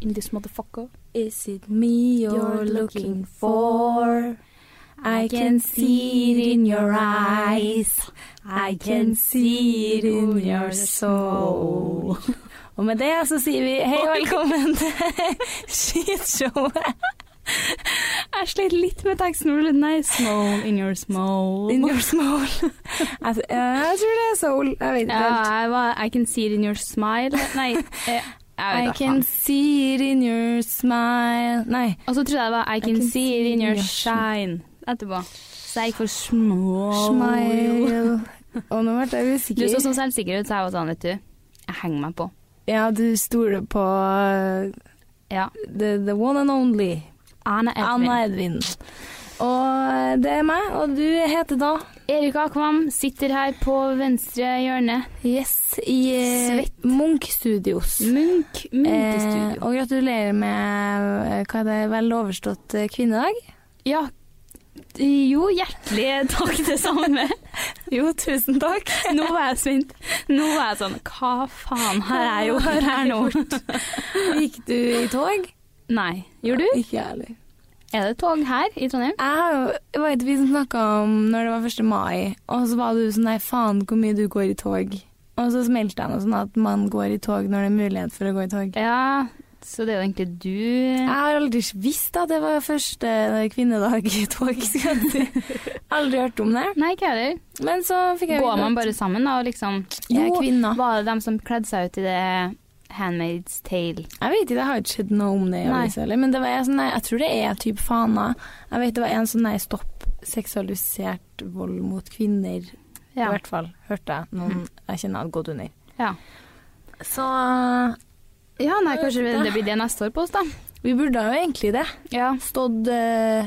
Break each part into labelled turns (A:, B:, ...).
A: in this motherfucker. Is it me you're looking for? I can see it in your eyes. I can see it in your soul. Og med det så sier vi hei og velkommen til skitshowet. Jeg slet litt med teksten. for det er Nei, small in your small.
B: In your small. jeg, t- eh, jeg tror det er soul. Jeg vet ikke helt.
A: Ja, jeg var I can see it in your smile. Nei. eh,
B: I
A: Jeg vet da
B: can
A: faen.
B: see it in your smile Nei.
A: Og så trodde jeg det var I can, see it in your shine etterpå. Så jeg gikk for small.
B: Smile. Og nå ble jeg
A: Du
B: usikker.
A: så så selvsikker ut, så jeg var sånn, vet du. Jeg henger meg på.
B: Ja, du stoler på eh,
A: Ja.
B: the, the one and only
A: Anna Edvin.
B: Anna Edvin. Og uh, det er meg, og du heter da
A: Erik Akvam sitter her på venstre hjørne.
B: Yes, i eh,
A: Svett.
B: Munch Studios.
A: Munch
B: Eh,
A: Munkestudio.
B: og gratulerer med eh, hva er det, vel overstått eh, kvinnedag.
A: ja. Jo, hjertelig takk, det samme.
B: Jo, tusen takk.
A: Nå var jeg spent. Nå var jeg sånn Hva faen har jeg gjort her nå?
B: Gikk du i tog?
A: Nei. Gjorde du?
B: Ikke jeg heller.
A: Er det tog her i Trondheim?
B: Jeg har jo- jeg var ikke vi som snakka om når det var 1. mai, og så var du sånn nei, faen hvor mye du går i tog. Og så smelte jeg noe sånn at man går i tog når det er mulighet for å gå i tog.
A: Ja, så det er jo egentlig
B: Jeg
A: du
B: har aldri visst at det var første eh, kvinnedag i tog. skal jeg si. Aldri hørt om det.
A: Nei, ikke heller.
B: Men så fikk jeg
A: Går
B: vite
A: man
B: at
A: bare sammen da, og liksom
B: jeg er
A: Jo,
B: kvinne.
A: var det dem som kledde seg ut i det Handmaid's Tale?
B: Jeg vet ikke, det har ikke skjedd noe om det i
A: Nei.
B: avisa heller. Men det var jeg, sånn, nei, jeg tror det er type fana. Jeg vet det var en sånn nei, stopp seksualisert vold mot kvinner. I
A: Ja. Mhm.
B: hvert fall hørte jeg noen jeg kjenner hadde gått under.
A: Ja.
B: Så
A: ja, nei, kanskje det blir det neste år på oss, da.
B: vi burde jo egentlig det.
A: Ja.
B: Stått eh,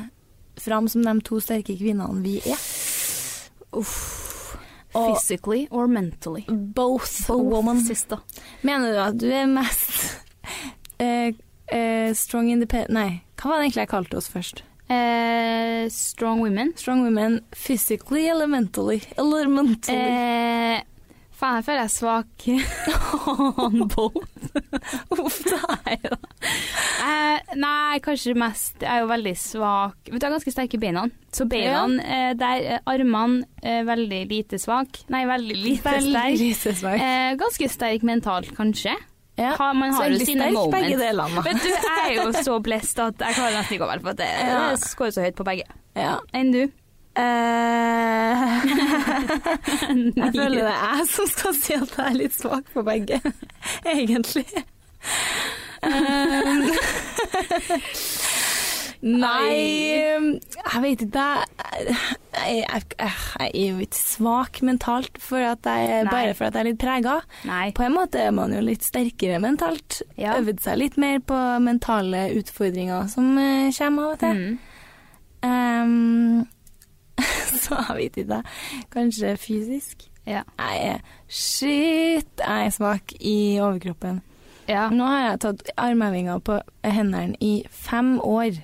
B: fram som de to sterke kvinnene vi er. Og
A: Physically or mentally.
B: both,
A: Both,
B: woman.
A: sister.
B: Mener du at du er mest eh, eh, strong independent Nei, hva var det egentlig jeg kalte oss først?
A: Eh, strong women.
B: Strong women physically, elementally. Elementally.
A: Eh, faen, jeg føler jeg er svak on both. Uff, nei da. Eh, nei, kanskje mest Jeg er jo veldig svak Vet du, jeg har ganske sterke beina. Så beina eh, der eh, Armene eh, veldig lite svak. Nei, veldig lite sterk.
B: Lysesvak.
A: Eh, ganske sterk mentalt, kanskje.
B: Ja.
A: Ha, man
B: Så
A: har jo
B: egentlig
A: sine
B: sterk
A: moments.
B: begge delene. da.
A: Vet du, jeg er jo så blessed at jeg klarer nesten ikke å være på at det.
B: Ja.
A: Jeg skårer så høyt på begge.
B: Ja.
A: Enn du?
B: jeg føler det er jeg som skal si at jeg er litt svak på begge, egentlig. Um, Nei um, Jeg vet ikke. Jeg, jeg, jeg, jeg er jo ikke svak mentalt for at jeg,
A: Nei.
B: bare for at jeg er litt prega.
A: Nei.
B: På en måte er man jo litt sterkere mentalt.
A: Ja.
B: Øvd seg litt mer på mentale utfordringer som eh, kommer av og til.
A: Mm.
B: Ehm, så jeg vet ikke. Kanskje fysisk.
A: Ja.
B: Jeg er shit, jeg er svak i overkroppen.
A: ja.
B: Nå har jeg tatt armhevinger på hendene i fem år,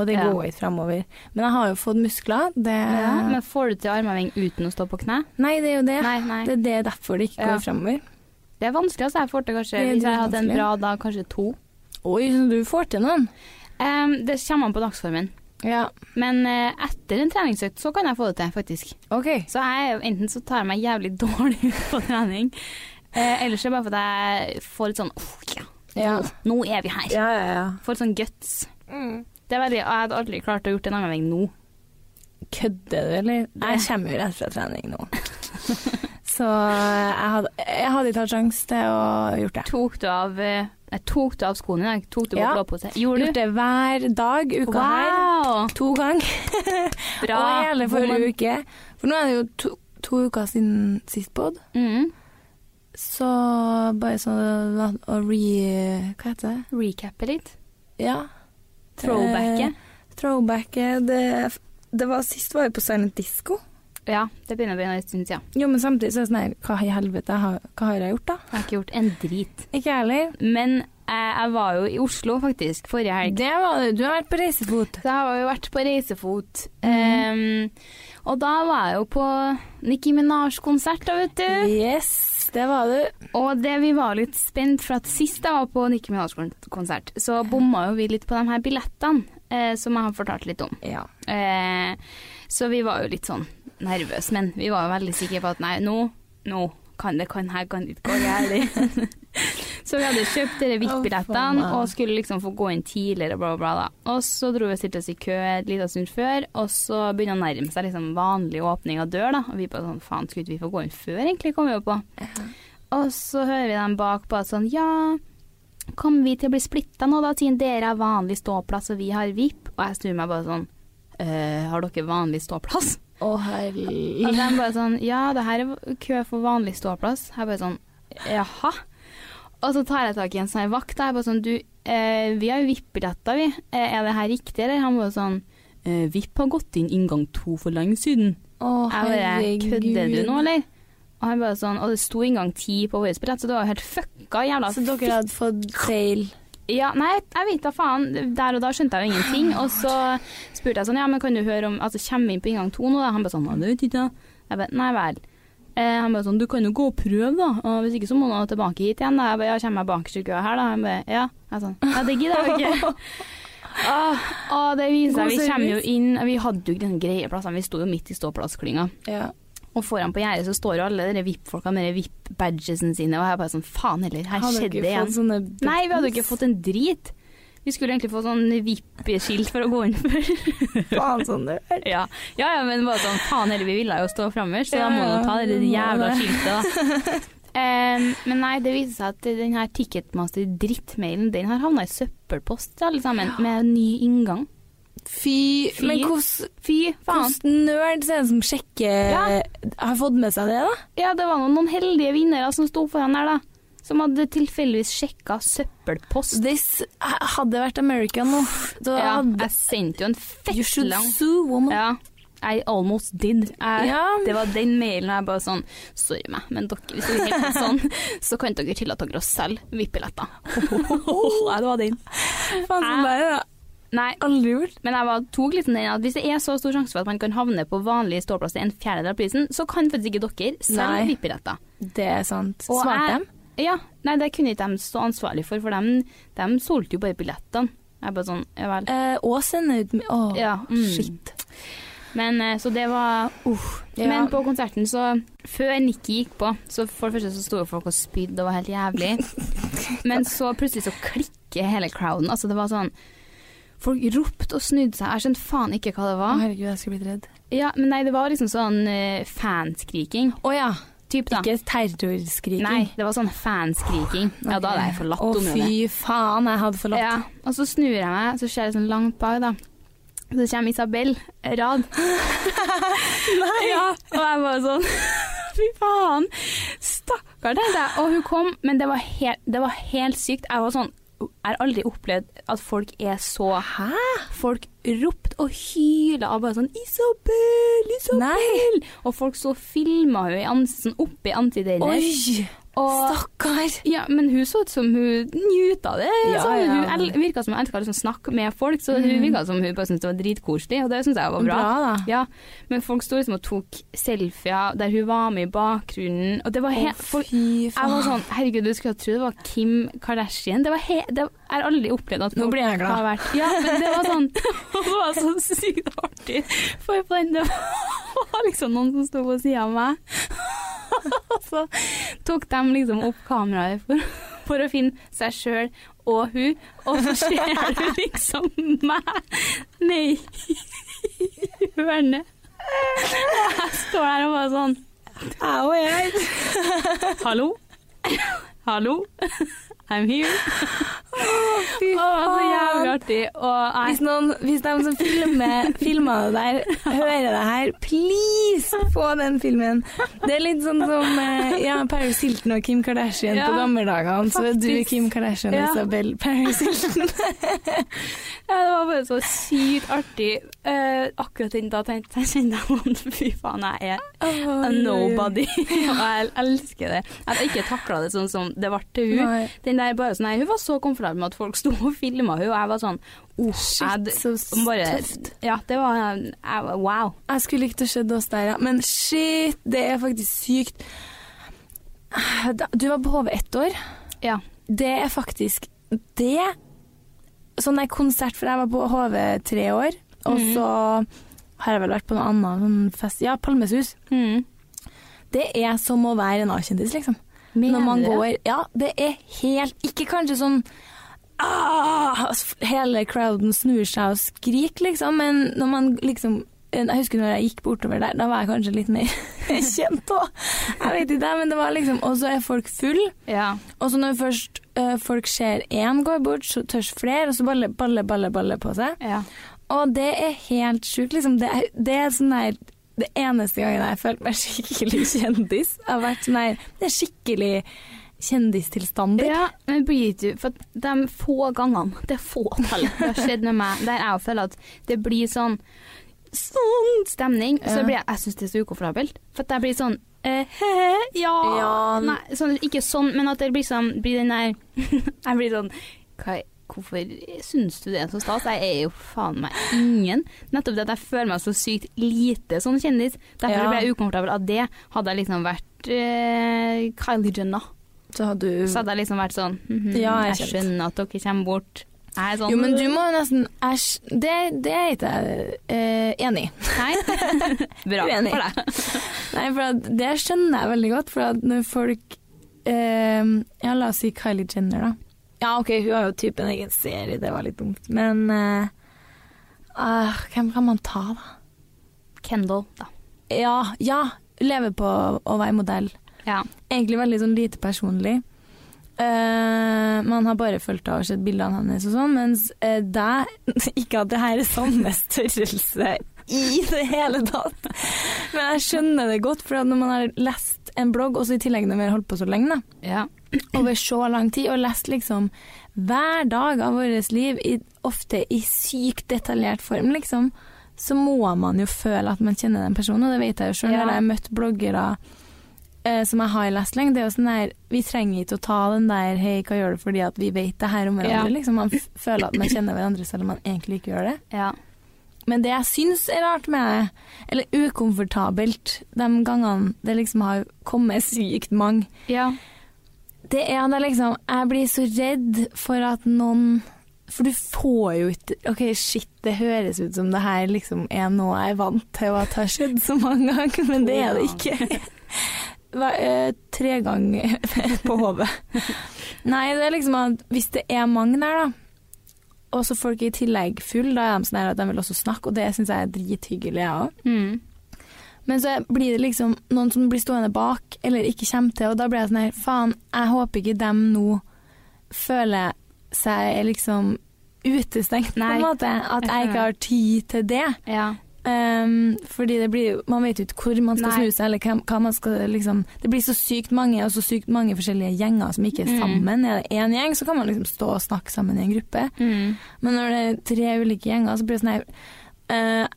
B: og det
A: Ja.
B: går ikke framover. Men jeg har jo fått muskler. Det...
A: ja. Men får du til armheving uten å stå på kne?
B: Nei, det er jo det.
A: Nei, nei.
B: Det er det derfor det ikke
A: Ja.
B: går framover.
A: Det er vanskelig, altså. Jeg får til kanskje,
B: Det er
A: hvis jeg hadde en
B: dritvanskelig.
A: bra dag, kanskje to.
B: Oi, så du får til noen.
A: Em, det kommer an på dagsformen.
B: Ja,
A: Men eh, etter en treningsøkt så kan jeg få det til, faktisk.
B: OK.
A: Så jeg, er jo- enten så tar jeg meg jævlig dårlig ut på trening, eh, eller så er det bare for at jeg får litt sånn «Åh, ja,
B: Ja.
A: Nå er vi her.
B: Ja, ja, ja.
A: Får litt sånn guts. Det er veldig, og jeg hadde aldri klart å gjort en armheving nå.
B: Kødder du, eller? Jeg kommer jo rett fra trening nå. Så jeg hadde, jeg hadde ikke hatt sjanse til å gjort det.
A: Tok du av, eh, nei, tok du av skoene i dag? Tok du på
B: Ja.
A: blåpose? Gjorde
B: Gjort
A: du?
B: det hver dag uka her.
A: Wow!
B: To ganger.
A: Bra.
B: Og hele
A: Woman.
B: forrige uke. For nå er det jo to, to uker siden sist pod.
A: Mm.
B: Så bare sånn å- å re... Hva heter det?
A: Recappe litt.
B: Ja.
A: Throwbacket.
B: Eh, Throwbacket. Det, det var sist var jeg på Silent Disco.
A: Ja, det begynner å bli en stund siden.
B: Jo, men samtidig så er det sånn her, hva i helvete har, hva har jeg gjort da?
A: Jeg har ikke gjort en drit.
B: Ikke jeg heller.
A: Men jeg, jeg var jo i Oslo faktisk forrige helg.
B: Det var det. Du har vært på reisefot.
A: Så jeg har jo vært på reisefot. Ehm, og da var jeg jo på Nicki Minaj-konsert, da, vet du.
B: Yes, det var du.
A: Og det vi var litt spent, for at sist jeg var på Nicki Minaj-konsert, så bomma jo vi litt på de her billettene, eh, som jeg har fortalt litt om.
B: Ja.
A: Eh, så vi var jo litt sånn nervøse, men vi var jo veldig sikre på at nei, nå, nå kan det kan her kan ikke gå gærent. så vi hadde kjøpt dere VIP-billettene
B: Å, faen.
A: og skulle liksom få gå inn tidligere, bla, bla, bla. da. Og så dro vi og stilte oss i kø en liten stund før, og så begynner det å nærme seg liksom vanlig åpning av dør, da. Og vi bare sånn faen, skulle ikke vi få gå inn før, egentlig, kom vi jo på. Og så hører vi dem bak bare sånn ja. Kommer vi til å bli splitta nå, da, siden dere har vanlig ståplass og vi har VIP? Og jeg snur meg bare sånn «Eh, Har dere vanlig ståplass?
B: Å, herlig.
A: Og de bare sånn Ja, det her er kø for vanlig ståplass. Jeg bare sånn Jaha? Og så tar jeg tak i en sånn her vakt. da. Jeg bare sånn Du, eh, vi har jo VIP-billetter, vi. Eh, er det her riktig, eller? Han bare sånn eh, VIP har gått inn inngang to for lenge siden.
B: Å,
A: Jeg bare Kødder du nå, eller? Og han bare sånn Og det sto inngang ti på vår billett, så det var jo helt fucka jævla
B: Så dere hadde fått feil.
A: Ja, nei, jeg- jeg vet da faen. Der og da skjønte jeg jo ingenting. Og så spurte jeg sånn, ja, men kan du høre om Altså, kommer vi inn på inngang to nå? da? Han bare sånn, nei, det vet jeg ikke. Jeg bare, nei vel. Eh, han bare sånn, du kan jo gå og prøve, da. Og hvis ikke så må du tilbake hit igjen. da. Jeg bare, ja, kommer jeg bakerst i køa her, da? Han bare, ja. Jeg sånn, ja, det gidder jeg jo ikke. Åh, åh, det viser
B: God
A: seg, vi kommer jo
B: service.
A: inn Vi hadde jo ikke den greie plassen, vi sto jo midt i ståplassklinga.
B: Ja.
A: Og foran på gjerdet så står jo alle de VIP-folka med de VIP-badgesene sine, og jeg bare sånn, faen heller, her
B: Hadde
A: skjedde det
B: dere
A: igjen.
B: fått sånne
A: Nei, vi hadde jo ikke fått en drit. Vi skulle egentlig få sånn VIP-skilt for å gå inn før.
B: faen sånn det er.
A: ja. ja, ja, men bare sånn, faen heller, vi ville jo stå framme, så da må vi jo ta det
B: Ja, ja,
A: jævla
B: det må
A: skiltet, da. Em, men nei, det viser seg at den her Ticketmaster-drittmailen, den har havna i søppelpost, alle sammen, med ny inngang.
B: Fy,
A: Fy.
B: Men hvordan
A: Fy faen.
B: hvordan nerds er det som sjekker
A: Ja.
B: Har fått med seg det, da?
A: Ja, det var noen, noen heldige vinnere som sto foran der, da. Som hadde tilfeldigvis sjekka søppelpost.
B: This hadde vært America nå. Da
A: Ja,
B: hadde
A: jeg sendte jo en
B: You
A: fett
B: should
A: lang
B: sue woman.
A: Ja. I almost did. Jeg,
B: Ja.
A: Det var den mailen jeg bare sånn Sorry meg, men dere, hvis dere holder på sånn, så kan dere tillate dere å selge VIP-billetter. Nei, det var den.
B: Faen, sånn der har jeg
A: Nei,
B: aldri gjort.
A: men jeg var tok litt den at hvis det er så stor sjanse for at man kan havne på vanlig ståplass til en fjerdedel av prisen, så kan faktisk ikke dere
B: Nei.
A: selge VIP-billetter.
B: Det er sant.
A: Og
B: Svarte
A: jeg-
B: dem?
A: Ja, nei, det kunne ikke de stå ansvarlig for, for de, de solgte jo bare billettene. Jeg bare sånn, ja vel.
B: Eh, og sende ut Å,
A: Ja, mm.
B: shit.
A: Men eh, så det var uff.
B: Ja.
A: Men på konserten så Før Nikki gikk på, så for det første så sto jo folk og spydde og var helt jævlig. Men så plutselig så klikker hele crowden. Altså det var sånn Folk ropte og snudde seg. Jeg skjønte faen ikke hva det
B: Å,
A: var.
B: herregud, jeg skulle blitt redd.
A: Ja, men nei, det var liksom sånn eh, fanskriking.
B: Å ja.
A: Typ, da.
B: Ikke terrorskriking.
A: Nei, det var sånn fanskriking. Ja, da hadde jeg forlatt
B: Å,
A: området.
B: fy faen, jeg hadde forlatt.
A: Ja, og så snur jeg meg, så ser jeg sånn langt bak, da. Så kommer Isabel Rad. Nei! Ja, og jeg bare sånn Fy faen! Stakkar, tenkte jeg. Og hun kom, men det var helt, det var helt sykt. Jeg var sånn Jeg har aldri opplevd at folk er så
B: Hæ?
A: Folk ropt og hyla og bare sånn 'Isabel! Isabel!' Og folk så filma henne i ans- sånn opp i ansiktet hennes.
B: Oi!
A: Og-
B: Stakkar!
A: Ja, men hun så ut som hun njuta det.
B: Ja,
A: så hun
B: ja.
A: el virka som hun elska å liksom snakke med folk, så hun virka som hun bare syntes det var dritkoselig, og det syns jeg var bra.
B: Bra, da.
A: Ja, men folk sto liksom og tok selfier der hun var med i bakgrunnen, og det var helt folk-
B: Fy
A: jeg var sånn, herregud, du skulle ha trodd det var Kim Kardashian. Det var he det, jeg har aldri opplevd at
B: Nå
A: folk
B: blir jeg glad.
A: har vært Ja, men det var sånn Det var så sykt artig. For på den, det var liksom noen som sto på sida av meg. Og så tok de liksom opp kameraet for, for å finne seg sjøl og hun, og så ser du liksom meg Nei, i hjørnet. Og jeg står der og bare sånn
B: Au, jeg.
A: Hallo? Hallo? I'm here.
B: Fy
A: Å, så jævlig
B: faen.
A: artig. Og
B: Hvis,
A: jeg,
B: noen, hvis de som filmer, filmer det der, hører det her, please få den filmen. Det er litt sånn som eh, ja, Paris Hilton og Kim Kardashian
A: Ja,
B: på gammeldagene. Så er du
A: faktisk.
B: Kim Kardashian og
A: Ja.
B: Isabel Paris Hilton.
A: ja, det var bare så sykt artig. Eh, akkurat den da tenkte jeg kjente jeg sånn Fy faen, jeg er a nobody. Og jeg elsker det. At jeg ikke takla det sånn som det ble til hun.
B: Nei.
A: Den der bare sånn, nei, Hun var så komfortabel med at folk sto og filma hun, og jeg var sånn oh,
B: Shit, så
A: jeg, bare,
B: tøft.
A: Ja, det var jeg, var- Wow.
B: Jeg skulle likt å se oss der, ja. Men shit, det er faktisk sykt. Ah, Da- Du var på HV ett år.
A: Ja.
B: Det er faktisk det. Sånn der konsert, for jeg var på HV tre år, og så har jeg vel vært på noe annet sånn fest. Ja, Palmesus.
A: Mm.
B: Det er som å være en A-kjendis, liksom. Når man
A: du det?
B: går Ja, det er helt Ikke kanskje sånn ah, Hele crowden snur seg og skriker, liksom, men når man liksom jeg husker når jeg gikk bortover der, da var jeg kanskje litt mer kjent òg. Jeg vet ikke, men det var liksom Og så er folk full,
A: Ja.
B: og så når først eh, folk ser én går bort, så tørs flere, og så baller, baller, baller, baller på seg.
A: ja.
B: Og det er helt sjukt, liksom. Det er, det er sånn der Det eneste gangen jeg har følt meg skikkelig kjendis, har vært sånn der Det er skikkelig kjendistilstander.
A: Ja, men blir du For at de få gangene, det er fåtallet, det har skjedd med meg der jeg føler at det blir sånn Sånn stemning. Så
B: Ja.
A: blir jeg Jeg syns det er så ukomfortabelt. For at jeg blir sånn eh, he-he, ja,
B: Ja.
A: Nei, sånn, ikke sånn, men at det blir sånn blir den der Jeg blir sånn hva, Hvorfor syns du det er så stas? Jeg er jo faen meg ingen. Nettopp det at jeg føler meg så sykt lite sånn kjendis. Derfor
B: Ja.
A: ble jeg ukomfortabel av det. Hadde jeg liksom vært eh, Kylie Jenner
B: Så har du
A: så hadde jeg liksom vært sånn mhm,
B: Ja, jeg
A: jeg,
B: skjønner.
A: skjønner at dere kommer bort. Jeg er sånn
B: Jo, men du må jo nesten Æsj. Det, det er ikke jeg eh, enig i.
A: Nei. Bra
B: Uenig.
A: for deg.
B: Nei, for at det skjønner jeg veldig godt, for at når folk eh, Ja, la oss si Kylie Jenner, da. Ja, OK, hun har jo typen egen serie, det var litt dumt, men eh, ah, Hvem kan man ta, da?
A: Kendal, da.
B: Ja, ja. Leve på å være modell.
A: Ja.
B: Egentlig veldig sånn lite personlig. Eh, man har bare fulgt av og sett bildene hennes og sånn, mens uh, deg Ikke at det her er samme størrelse i det hele tatt, men jeg skjønner det godt, for at når man har lest en blogg, og så i tillegg når vi har holdt på så lenge, da,
A: ja.
B: over så lang tid, og lest liksom hver dag av vårt liv, i, ofte i sykt detaljert form, liksom, så må man jo føle at man kjenner den personen, og det vet jeg jo sjøl.
A: Ja.
B: Når jeg har møtt bloggere eh, som jeg har lest lenge, det er jo sånn der Vi trenger ikke å ta den der 'hei, hva gjør du fordi at vi vet det her om hverandre',
A: Ja.
B: liksom. Man f føler at man kjenner hverandre selv om man egentlig ikke gjør det.
A: ja.
B: Men det jeg syns er rart med det, eller ukomfortabelt, de gangene det liksom har kommet sykt mange
A: Ja.
B: det er at jeg liksom Jeg blir så redd for at noen For du får jo ikke OK, shit, det høres ut som det her liksom er noe jeg er vant til at har skjedd så mange ganger, men det er det ikke. Hva, eh, tre ganger på hodet. Nei, det er liksom at hvis det er mange der, da, og så folk er i tillegg full, da er de sånn her at de vil også snakke, og det syns jeg er drithyggelig, jeg ja. òg.
A: Mm.
B: Men så blir det liksom noen som blir stående bak, eller ikke kommer til, og da blir jeg sånn her, faen, jeg håper ikke dem nå føler seg liksom utestengt, på
A: Nei.
B: en måte. At jeg ikke har tid til det.
A: ja.
B: Ehm, fordi det blir jo Man vet jo ikke hvor man skal
A: Nei.
B: snu seg, eller hvem, hva man skal liksom Det blir så sykt mange, og så sykt mange forskjellige gjenger som ikke er
A: Mm.
B: sammen. Er det én gjeng, så kan man liksom stå og snakke sammen i en gruppe.
A: Mm.
B: Men når det er tre ulike gjenger, så blir det sånn her eh,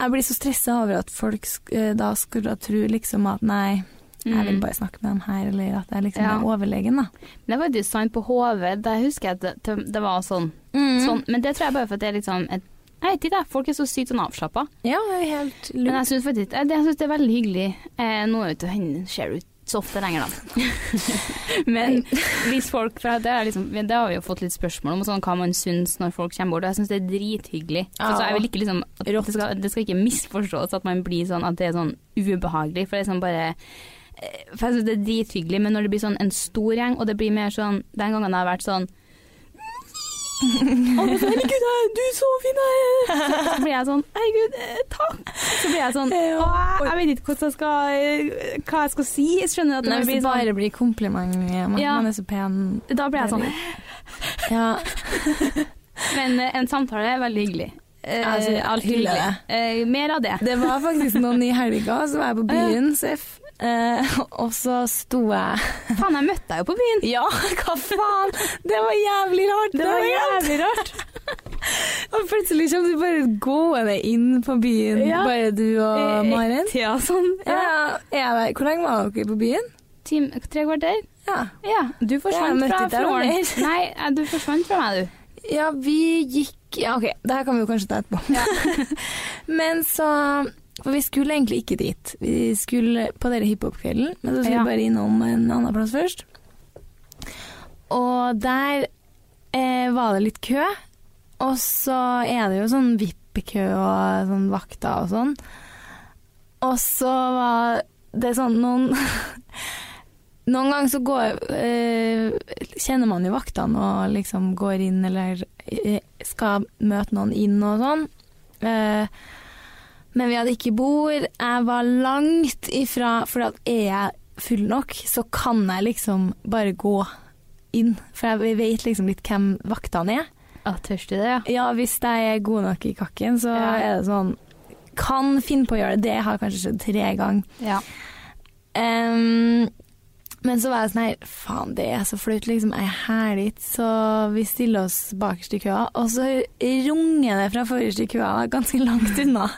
B: Jeg blir så stressa over at folk sk eh, da skulle tro liksom at nei, jeg vil bare snakke med dem her, eller at jeg liksom
A: Ja.
B: er overlegen, da.
A: Men Mm. Det var jo sant på HV. Der husker jeg at det- det, det var sånn.
B: Mm.
A: sånn. Men det tror jeg bare for at det er liksom et jeg vet ikke, jeg. folk er så sykt sånn avslappa.
B: Ja, det er sånn, helt
A: Men
B: lurt.
A: jeg syns faktisk jeg- jeg synes det er veldig hyggelig. Eh, nå er jo ikke henne ser ut så ofte lenger, da. Men hvis folk For det, er liksom, det har vi jo fått litt spørsmål om, og sånn, hva man syns når folk kommer bort. Og jeg syns det er drithyggelig.
B: Ja.
A: Så jeg vil ikke liksom at det, skal, det skal ikke misforstås at man blir sånn at det er sånn ubehagelig, for det er sånn bare eh, for jeg synes Det er drithyggelig, men når det blir sånn en stor gjeng, og det blir mer sånn Den gangen jeg har vært sånn Alle sånn, Herregud, jeg- du er så fin! jeg er!» Så, så blir jeg sånn Herregud, eh, takk! Så blir jeg sånn
B: Ja.
A: «Å, jeg, jeg vet ikke hvordan jeg skal, eh, hva jeg skal si. Jeg skjønner at
B: Nei,
A: det
B: hvis det
A: blir sånn
B: bare blir kompliment ja, man,
A: Ja.
B: man er så pen
A: Da blir jeg sånn.
B: Ja,
A: Men eh, en samtale er veldig hyggelig. Eh,
B: Altså, jeg
A: alt
B: hyller
A: hyggelig. Eh, mer av det.
B: Det var faktisk noen i helga, så var jeg på byen, Seff. Eh, og så sto jeg
A: Faen, jeg møtte deg jo på byen.
B: Ja, hva faen! Det var jævlig rart!
A: Det var jævlig
B: rart. og plutselig kom du bare gående inn på byen,
A: Ja.
B: bare du og Maren.
A: Eh, Ja, sånn.
B: Eh, Ja, jeg vet, hvor lenge var dere på byen?
A: Tim, tre kvarter.
B: Ja.
A: Ja, du forsvant
B: møtte
A: fra
B: ikke deg da,
A: floren.
B: eller?
A: Nei, eh, du forsvant fra meg, du.
B: ja, vi gikk Ja, OK, det her kan vi jo kanskje ta etterpå. men så For vi skulle egentlig ikke dit. Vi skulle på denne hiphop-kvelden, men så skulle
A: Ja.
B: vi bare innom en annen plass først. Og der eh, var det litt kø, og så er det jo sånn vippekø og sånn vakter og sånn. Og så var det sånn noen Noen ganger så går eh, Kjenner man jo vaktene og liksom går inn eller eh, skal møte noen inn og sånn. Eh, men vi hadde ikke bord. Jeg var langt ifra For at er jeg full nok, så kan jeg liksom bare gå inn. For jeg- vi vet liksom litt hvem vaktene er.
A: Ja, tørste du det, ja?
B: Ja, hvis jeg er god nok i kakken, så
A: Ja.
B: er det sånn Kan finne på å gjøre det. Det har kanskje skjedd tre ganger.
A: Ja.
B: Ehm, men så var jeg sånn her Faen, det er så flaut, liksom. Jeg er her dit. Så vi stiller oss bakerst i køa, og så runger det fra forrest i køa, da, ganske langt unna.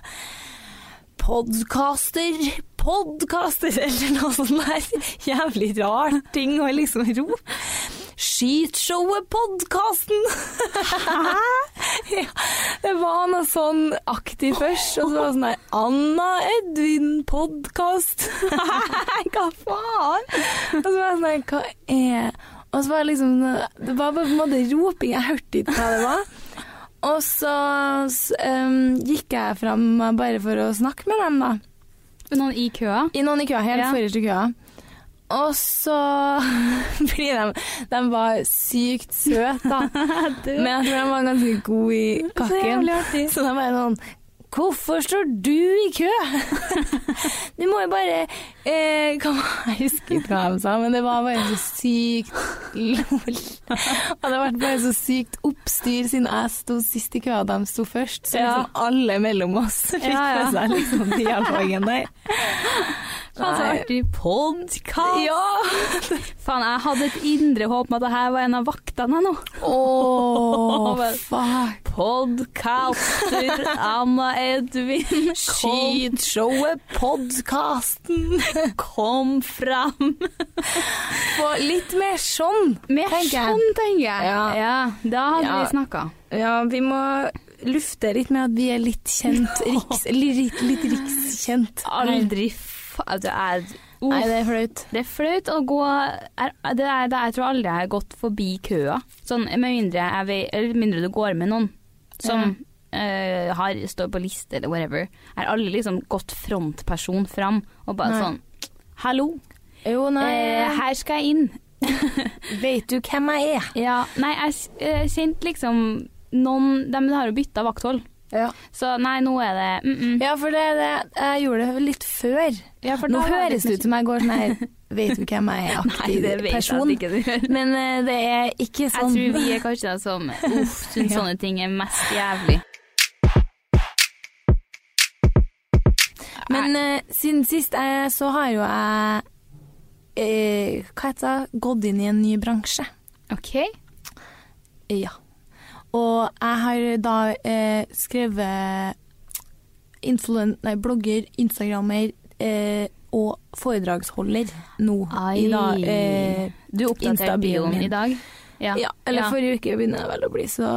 B: Podkaster, podkaster, eller noe sånt der. Jævlig rar ting å liksom rope. Skytshowet Podkasten! ja, det var noe sånn aktig først, og så var det sånn der Anna Edvin Podkast. hva faen? Og så var jeg sånn der, hva er Og så var det liksom Det var bare på en måte roping, jeg hørte ikke hva det var. Og så s- em, gikk jeg fram bare for å snakke med dem, da.
A: Noen i køa?
B: I noen i køa, helt
A: Ja.
B: forrest i køa. Og så blir de De var sykt søte, da. Men jeg tror de var ganske gode i kakken.
A: artig.
B: Så de bare sånn Hvorfor står du i kø? Du må jo bare eh, hva var- Jeg husker ikke hva de sa, men det var bare så sykt lol. Og det ble bare så sykt oppstyr siden jeg sto sist i køa og de sto først. Så
A: Ja.
B: liksom alle mellom oss fikk
A: Ja, ja.
B: med seg liksom dialogen der.
A: Faen, så
B: Nei.
A: artig. Podkast!
B: Ja!
A: Faen, jeg hadde et indre håp om at det her var en av vaktene nå.
B: Åh, fuck.
A: Podcaster Anna Edvin, kom,
B: Skytshowet, podkasten.
A: kom fram.
B: Få Litt mer sånn.
A: Mer
B: Tenker jeg.
A: sånn, tenker jeg.
B: Ja.
A: da hadde
B: Ja.
A: vi snakka.
B: Ja, vi må lufte litt med at vi er litt kjent. Riks, litt, litt rikskjent.
A: Aldri fa... Det er, uff.
B: Nei, det er flaut.
A: det er flaut å gå er, det er, det er, Jeg tror aldri jeg har gått forbi køa. Sånn, med mindre, jeg vet, eller mindre du går med noen som eh, har, står på liste eller whatever. Er aldri liksom gått frontperson fram og bare
B: Nei.
A: sånn Hallo,
B: Jo, nei.
A: eh, her skal jeg inn.
B: Vet du hvem jeg er?
A: Ja, nei, jeg s- eh, kjente liksom noen De har jo bytta vakthold.
B: Ja.
A: Så nei, nå er det mm -mm.
B: for det, det, jeg gjorde det litt før.
A: Ja, for
B: Nå
A: da var litt-
B: høres det
A: sånn-
B: ut som jeg går sånn her Vet du hvem jeg er?
A: Nei,
B: Aktiv
A: det vet
B: person.
A: jeg at ikke du gjør.
B: Men eh, det er ikke
A: Jeg
B: sånn.
A: tror vi er kanskje de som uff, syns
B: Ja.
A: sånne ting er mest jævlig.
B: Men eh, siden sist eh, så har jo jeg eh, Hva heter det? Gått inn i en ny bransje.
A: OK.
B: Ja. Og jeg har da eh, skrevet influen nei, blogger, instagrammer eh, og foredragsholder nå. I dag. Eh,
A: du oppdaterte
B: Insta-bioen
A: bioen
B: min.
A: i dag?
B: ja. eller
A: ja.
B: forrige uke begynner jeg vel å bli så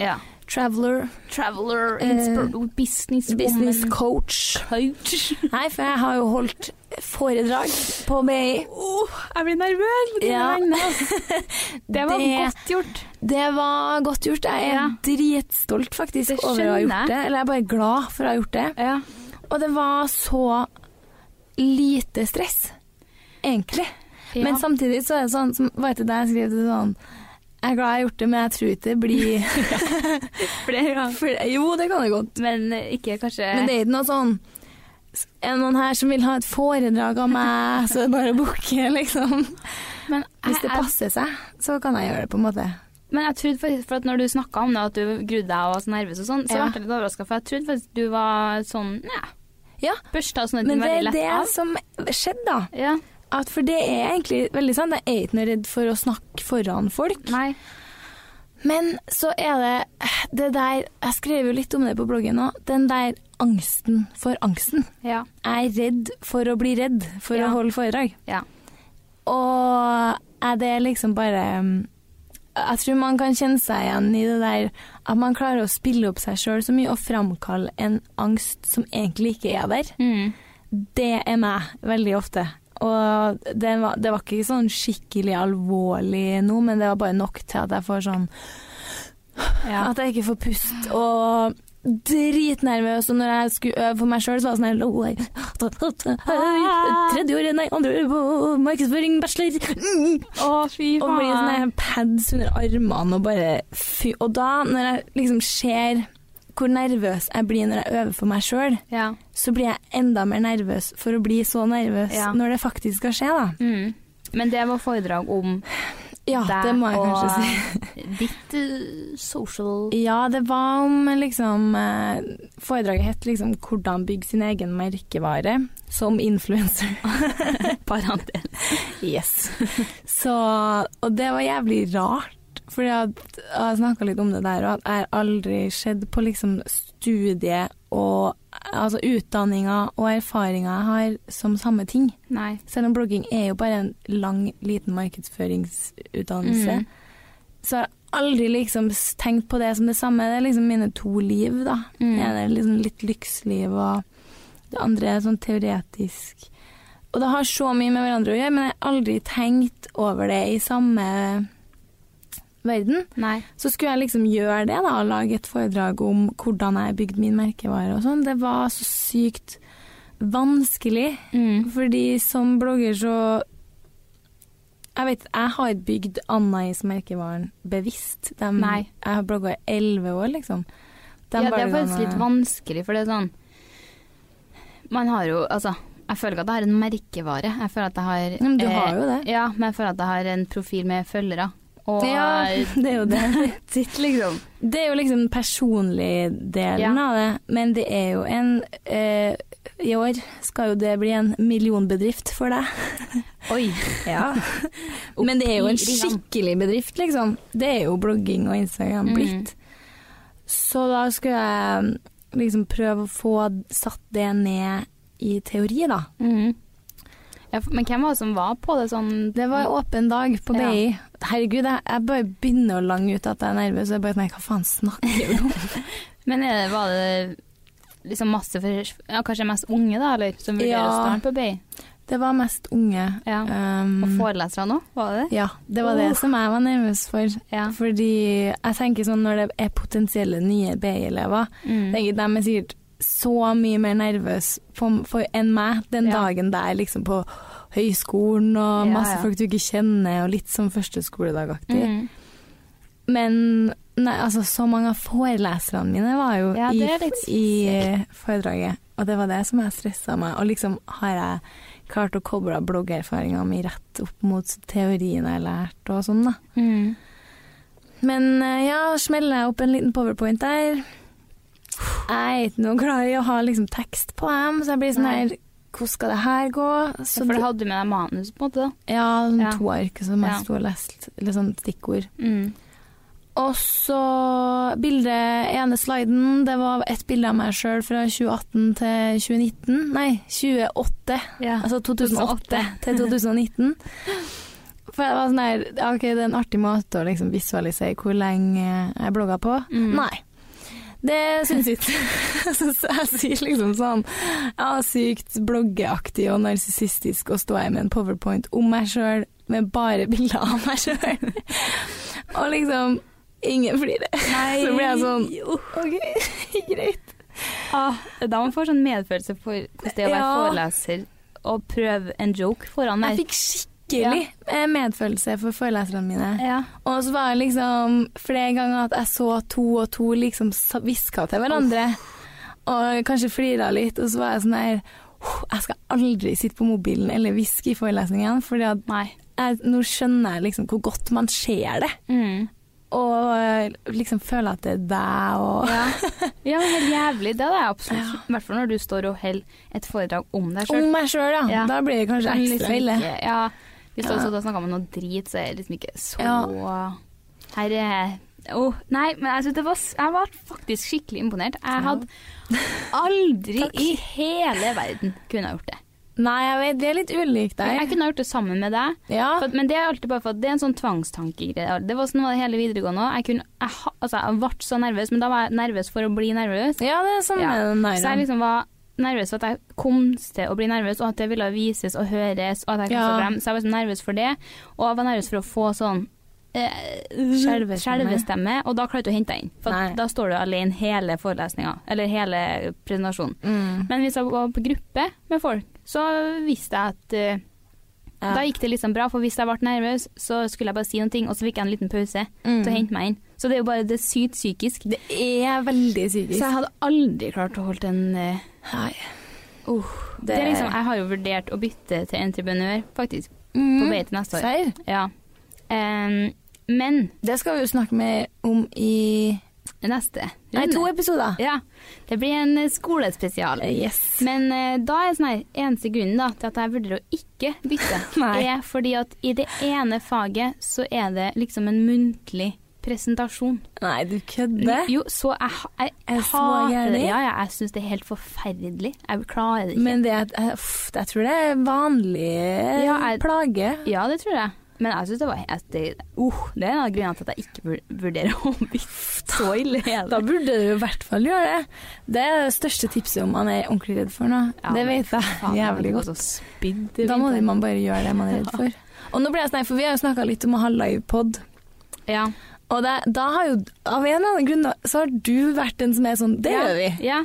A: ja.
B: Traveler,
A: Traveler,
B: Eh,
A: inspir- business,
B: business
A: woman,
B: coach.
A: coach.
B: Nei, for jeg har jo holdt foredrag på BI.
A: Oh, jeg blir nervøs på dine
B: Ja.
A: vegne. ass. altså. Det var
B: Det-
A: godt gjort.
B: Det var godt gjort. Jeg er
A: Ja.
B: dritstolt faktisk
A: Det
B: over å
A: skjønner
B: ha
A: jeg.
B: gjort det. Eller jeg er bare glad for å ha gjort det.
A: Ja.
B: Og det var så lite stress, egentlig. Men samtidig så er det sånn, som var det der jeg skrev det sånn Jeg er glad jeg har gjort det, men jeg tror ikke det blir
A: flere ganger.
B: For, Jo, det kan det godt.
A: Men eh, ikke kanskje
B: Men det er ikke noe sånn Er det noen her som vil ha et foredrag av meg, så er det bare å booke, liksom.
A: Men jeg,
B: Hvis det
A: jeg,
B: passer seg, så kan jeg gjøre det, på en måte.
A: men jeg trodde faktisk, for at når du snakka om det, at du grudde deg og var så nervøs og sånn, så
B: Ja.
A: ble jeg litt overraska, for jeg trodde faktisk du var sånn ja,
B: Ja,
A: børsta sånn at
B: men
A: den
B: det
A: veldig
B: er
A: lett
B: det
A: av.
B: som skjedde, da.
A: Ja.
B: At for det er egentlig veldig sant. Jeg er ikke noe redd for å snakke foran folk.
A: Nei.
B: Men så er det det der Jeg skrev jo litt om det på bloggen òg. Den der angsten for angsten.
A: Ja.
B: Jeg er redd for å bli redd for
A: Ja.
B: å holde foredrag.
A: Ja.
B: Og er det liksom bare um, Jeg tror man kan kjenne seg igjen i det der at man klarer å spille opp seg sjøl så mye og framkalle en angst som egentlig ikke er der.
A: Mm.
B: Det er meg veldig ofte. Og det var, det var ikke sånn skikkelig alvorlig nå, men det var bare nok til at jeg får sånn
A: ja.
B: At jeg ikke får pust og dritnervøs. Og når jeg skulle øve for meg sjøl, så var det sånn her «Lo, jeg- Tredje året, nei, andre året på markedsføring, bachelor. Mm.
A: Å, fy
B: Og blir sånn her pads under armene og bare fy. Og da, når jeg liksom ser hvor nervøs jeg blir når jeg øver for meg sjøl,
A: Ja.
B: så blir jeg enda mer nervøs for å bli så nervøs
A: Ja.
B: når det faktisk skal skje, da.
A: Mm. Men det var foredrag om
B: Ja,
A: deg
B: Ah, det må jeg
A: og
B: kanskje si.
A: ditt eh, social
B: Ja, det var om liksom eh, Foredraget het liksom 'Hvordan bygge sin egen merkevare som influenser'.
A: parentes.
B: yes. Så, og det var jævlig rart, for jeg snakka litt om det der òg, at jeg har aldri sett på liksom studiet og altså utdanninga og erfaringa jeg har som samme ting.
A: Nei.
B: Selv om blogging er jo bare en lang, liten markedsføringsutdannelse.
A: Mm.
B: Så har jeg aldri liksom s- tenkt på det som det samme. Det er liksom mine to liv, da.
A: Mm.
B: Det ene er liksom litt lyksliv, og det andre er sånn teoretisk. Og det har så mye med hverandre å gjøre, men jeg har aldri tenkt over det i samme verden.
A: Nei.
B: Så skulle jeg liksom gjøre det, da, og lage et foredrag om hvordan jeg bygde min merkevare og sånn. Det var så sykt vanskelig.
A: Mm.
B: Fordi som blogger så Jeg vet, jeg har bygd Anna-is-merkevaren bevisst. Dem-
A: Nei.
B: Jeg har blogga i elleve år, liksom. Dem
A: ja, det er
B: bare
A: faktisk
B: sånn,
A: litt vanskelig, for det er sånn Man har jo Altså, jeg føler ikke at jeg har en merkevare. Jeg føler at jeg har
B: Ja, men du
A: eh,
B: har jo det.
A: Ja, men jeg føler at jeg har en profil med følgere. Og eh,
B: Ja, det er jo det.
A: sitt, liksom.
B: Det er jo liksom den personlige delen
A: Ja.
B: av det, men det er jo en eh, I år skal jo det bli en millionbedrift for deg.
A: Oi.
B: Ja. Men det er jo en
A: i ringene.
B: skikkelig bedrift, liksom. Det er jo blogging og Instagram
A: Mm.
B: blitt. Så da skulle jeg liksom prøve å få satt det ned i teori, da.
A: Mhm. Ja, for- men hvem var det som var på det sånn
B: Det var åpen dag på
A: Ja.
B: BI. Herregud, jeg, jeg bare begynner å lange ut at jeg er nervøs. og Jeg bare, nei, hva faen snakker jeg om?
A: Men er det, var det liksom masse for ja, Kanskje mest unge, da, eller? Som vurderer å
B: Ja.
A: starte på BI?
B: Det var mest unge.
A: Ja.
B: Um,
A: Og forelesere nå, var det det?
B: ja, det var det
A: Uh.
B: som jeg var nervøs for.
A: Ja.
B: Fordi jeg tenker sånn når det er potensielle nye BI-elever,
A: Mm.
B: Tenker, de er sikkert så mye mer nervøse for, for enn meg den
A: Ja.
B: dagen der liksom på høyskolen og
A: Ja,
B: masse
A: ja.
B: folk du ikke kjenner, og litt sånn første skoledagaktig.
A: Mhm.
B: Men nei, altså, så mange av foreleserne mine var jo
A: Ja, det er
B: i,
A: litt
B: i foredraget, og det var det som jeg stressa meg. Og liksom har jeg klart å koble bloggerfaringa mi rett opp mot teorien jeg har lært og sånn, da.
A: Mhm.
B: Men eh, ja, smeller jeg opp en liten powerpoint der. Jeg er ikke noe glad i å ha liksom tekst på dem, så jeg blir sånn
A: Nei.
B: her Hvordan skal det her gå?
A: Så
B: Så
A: for
B: det-
A: da hadde du med deg manus, på en måte. da.
B: ja, sånn
A: Ja.
B: to ark som jeg
A: Ja.
B: sto og leste, litt sånn stikkord. Og så bildet, ene sliden, det var et bilde av meg sjøl fra 2018 til 2019. Nei, 28.
A: Ja.
B: Altså 2008 til 2019. For jeg var sånn her ja, OK, det er en artig måte å liksom visualisere hvor lenge jeg blogga på.
A: Mm.
B: Nei. Det syns jeg ikke. Så jeg sier liksom sånn Ja, sykt bloggeaktig og narsissistisk å stå her med en powerpoint om meg sjøl, med bare bilder av meg sjøl. Og liksom Ingen flirer. Så blir jeg sånn OK, greit.
A: Ah, da man får sånn medfølelse for hvordan det er å være
B: Ja.
A: foreleser og prøve en joke foran
B: Jeg
A: deg.
B: fikk skikkelig eh, medfølelse for foreleserne mine.
A: Ja.
B: Og så var det liksom flere ganger at jeg så to og to liksom sa- hviska til hverandre. Og kanskje flira litt, og så var jeg sånn her «Åh, Jeg skal aldri sitte på mobilen eller hviske i forelesningen, for nå
A: Nei.
B: skjønner jeg liksom hvor godt man ser det.
A: Mm.
B: Og eh, liksom føler at det er deg og
A: Ja. ja, men helt jævlig. Det hadde jeg absolutt. I hvert fall når du står og holder et foredrag om deg sjøl.
B: Om meg sjøl, ja.
A: Ja.
B: Da blir det kanskje
A: Men
B: ekstra
A: liksom
B: ille.
A: ikke- Ja, hvis du
B: Ja.
A: også da snakker om noe drit, så er det liksom ikke så
B: Ja.
A: Her er Åh, nei, men jeg, synes det var, s- jeg var faktisk skikkelig imponert. Jeg hadde aldri i hele verden kunne ha gjort det.
B: Nei, jeg vet, vi er litt ulike
A: Jeg
B: der.
A: kunne ha gjort det sammen med deg,
B: Ja.
A: for, men det er alltid bare for at det er en sånn tvangstankegreie. Det var sånn var det hele videregående òg. Jeg, kunne- jeg, ha- altså, jeg ble så nervøs, men da var jeg nervøs for å bli nervøs.
B: ja, det er sånn
A: Ja.
B: med den
A: Så jeg
B: der.
A: liksom var nervøs for at jeg kom til å bli nervøs, og at det ville vises og høres. Og at jeg kom
B: Ja.
A: så frem. Så jeg var liksom nervøs for det, og jeg var nervøs for å få sånn eh,
B: Skjelvestemme.
A: skjelvestemme, og da klarte du å hente deg inn. For
B: Nei.
A: at da står du alene hele forelesninga, eller hele presentasjonen.
B: Mm.
A: Men hvis jeg var på gruppe med folk, så visste jeg at eh,
B: Ja.
A: Da gikk det liksom bra, for hvis jeg ble nervøs, så skulle jeg bare si noen ting, og så fikk jeg en liten pause til å
B: Mm.
A: hente meg inn. Så det er jo bare det er sykt psykisk.
B: Det er veldig
A: Så
B: psykisk.
A: jeg hadde aldri klart å holde en eh,
B: Nei.
A: Det... er liksom, jeg har jo vurdert å bytte til entreprenør, faktisk,
B: mm,
A: på vei til neste år.
B: Serr?
A: Ja. Em, men
B: Det skal vi jo snakke mer om i
A: neste
B: Nei, to episoder.
A: Ja. Det blir en eh, skolespesial.
B: Yes.
A: Men eh, da er sånn her, eneste grunnen da, til at jeg vurderer å ikke bytte,
B: Nei.
A: er fordi at i det ene faget så er det liksom en muntlig presentasjon.
B: Nei, du kødder.
A: Jo, så jeg, ha- jeg,
B: Er det så
A: hater det.
B: gærlig?
A: Ja, ja, jeg syns det er helt forferdelig. Jeg klarer det ikke.
B: Men det er eh, uff, Jeg tror det er vanlig eh,
A: Ja, jeg-
B: plage.
A: Ja, det tror jeg. Men jeg synes det var jeg, det, uh, det er en av grunnene til at jeg ikke vur- vurderer å bytte så ille. er
B: Da
A: det.
B: burde du i hvert fall gjøre det. Det er det største tipset om man er ordentlig redd for noe.
A: Ja,
B: det
A: men
B: vet jeg
A: Faen,
B: jævlig
A: jeg
B: godt.
A: hadde også spydd i
B: Da må
A: vinter.
B: man bare gjøre det man er redd for. Og nå ble jeg sånn, for Vi har jo snakka litt om å ha livepod.
A: Ja.
B: Og det, da har jo, av en eller annen grunn da, så har du vært den som er sånn Det gjør vi.
A: Ja.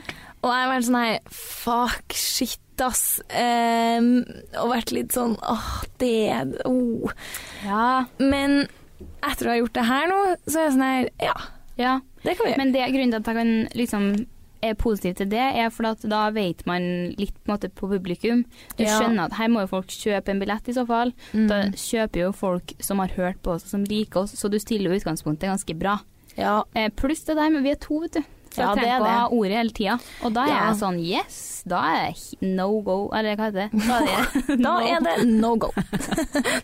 B: Og jeg har vært sånn her Fuck, shit, ass. Ehm, og vært litt sånn Åh, det oh.
A: Ja.
B: Men etter å ha gjort det her nå, så er jeg sånn her Ja,
A: ja.
B: det kan vi gjøre.
A: Men det, grunnen til at jeg kan liksom er positiv til det, er for at da vet man litt på, en måte, på publikum. Du
B: Ja.
A: skjønner at her må jo folk kjøpe en billett i så fall. Da
B: Mm.
A: kjøper jo folk som har hørt på oss og som liker oss, så du stiller jo utgangspunktet ganske bra.
B: Ja.
A: Eh, Pluss det der, men vi er to, vet du. Så
B: Ja,
A: jeg
B: det er
A: trenger ikke å ha
B: det.
A: ordet hele tida. Og da er
B: Ja.
A: jeg sånn yes, da er jeg he- no go, eller hva heter det? Da er det,
B: Da er det no go.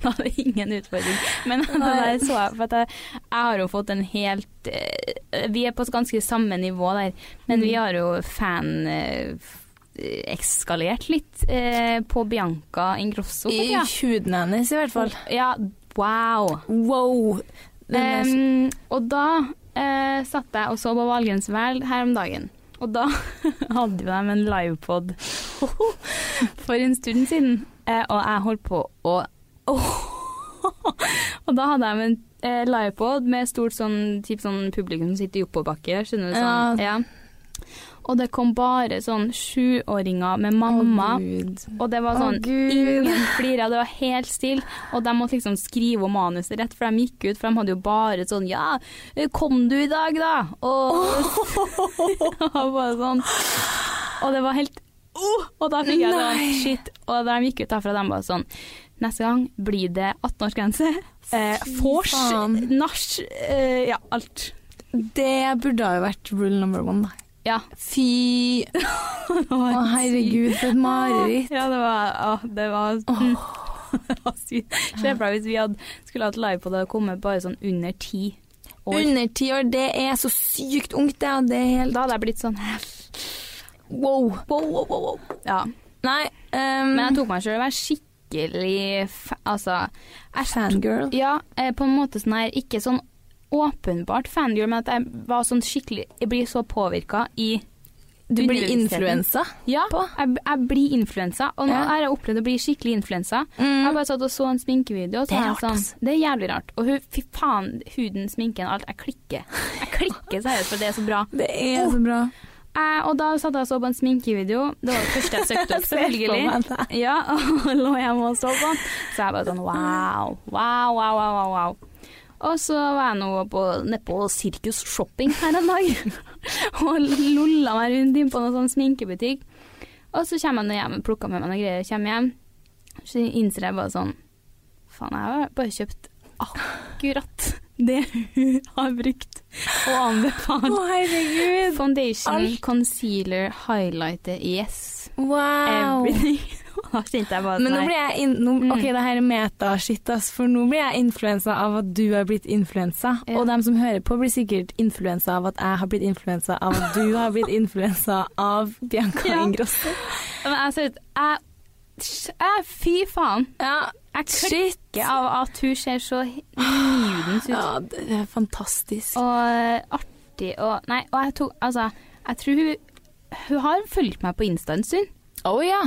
A: da er det ingen utfordring. Men det der så jeg, for at jeg, jeg har jo fått en helt eh, Vi er på ganske samme nivå der, men
B: Mm.
A: vi har jo fan... eh, f- Ekskalert litt eh, på Bianca Ingrosso.
B: I
A: kanskje,
B: huden hennes, i hvert fall.
A: Ja, wow.
B: Wow. Den er så-
A: Em, og da eh, satt jeg og så på Valgrens Væl her om dagen. Og da hadde jo de en livepod for en stund siden, eh, og jeg holdt på å Og da hadde de en eh, livepod med stort sånn, typ sånn publikum som sitter i oppoverbakke. Skjønner du sånn? Ja. Og det kom bare sånn sjuåringer med mamma.
B: Å, Gud.
A: Og det var
B: Å,
A: sånn
B: Gud.
A: Ingen flira, det var helt stille. Og de måtte liksom skrive om manuset rett før de gikk ut, for de hadde jo bare sånn Ja, kom du i dag, da? Og Ja, bare sånn. Og det var helt oh! Og da fikk jeg sånn Shit. Og da de gikk ut derfra, de bare sånn Neste gang blir det 18-årsgrense. Eh, Vors,
B: faen.
A: nach, eh, ja, alt.
B: Det burde ha jo vært rule number one, da.
A: Ja.
B: Fy Å, herregud, for et mareritt.
A: Ja, det var å, Det var, det var sykt. Se for deg hvis vi hadde, skulle hatt live på det og kommet bare sånn under ti år.
B: Under ti år, det er så sykt ungt, det. og Det er helt
A: Da hadde jeg blitt sånn
B: wow. wow, wow, wow, wow.
A: Ja.
B: Nei, ehm,
A: Men jeg tok meg sjøl i å være skikkelig fa Altså jeg-
B: fangirl.
A: Ja, eh, på en måte sånn her Ikke sånn åpenbart fangirl, men at jeg var sånn skikkelig Jeg blir så påvirka i
B: Du blir
A: underbevisstheten.
B: influensa.
A: Ja,
B: på.
A: jeg, jeg blir influensa. Og nå
B: Ja.
A: har jeg opplevd å bli skikkelig influensa.
B: Mm.
A: Jeg bare satt og så en sminkevideo. Og så
B: Det
A: var
B: er
A: jeg
B: rart, ass.
A: sånn, det er jævlig rart. Og hun, fy faen, huden, sminken, alt. Jeg klikker. Jeg klikker seriøst, for det er så bra.
B: Det er så bra.
A: Eh, og da satt jeg og så på en sminkevideo. Det var det første jeg søkte opp,
B: Jeg ser for meg
A: selvfølgelig.
B: det.
A: Ja, og lå hjemme og så på. Så jeg bare sånn wow, wow, wow, wow, wow. wow. Og så var jeg nå på, nede på Sirkus Shopping her en dag og lolla meg rundt inn på noen sånn sminkebutikk. Og så kommer jeg nå hjem, plukker med meg noen greier, kommer hjem. Så innser jeg bare sånn Faen, jeg har bare kjøpt akkurat det hun har brukt og anbefalt.
B: Å, herregud.
A: Foundation,
B: Alt.
A: concealer, highlighter, yes.
B: Wow.
A: Everything. da kjente jeg bare
B: Men nå
A: nei.
B: blir jeg in nå,
A: Mm.
B: Ok, det her er meta-shit, ass, for nå blir jeg influensa av at du har blitt influensa.
A: Ja.
B: Og dem som hører på, blir sikkert influensa av at jeg har blitt influensa av at du har blitt influensa av Bianca
A: Ja.
B: Ingrosso.
A: Men jeg ser ut jeg, jeg, Fy faen.
B: Ja,
A: Jeg
B: shit.
A: klikker av at hun ser så nydens ut.
B: Ja, det er fantastisk.
A: Og eh, artig og Nei, og jeg tok Altså, jeg tror hun Hun har fulgt meg på Insta en stund.
B: Å ja.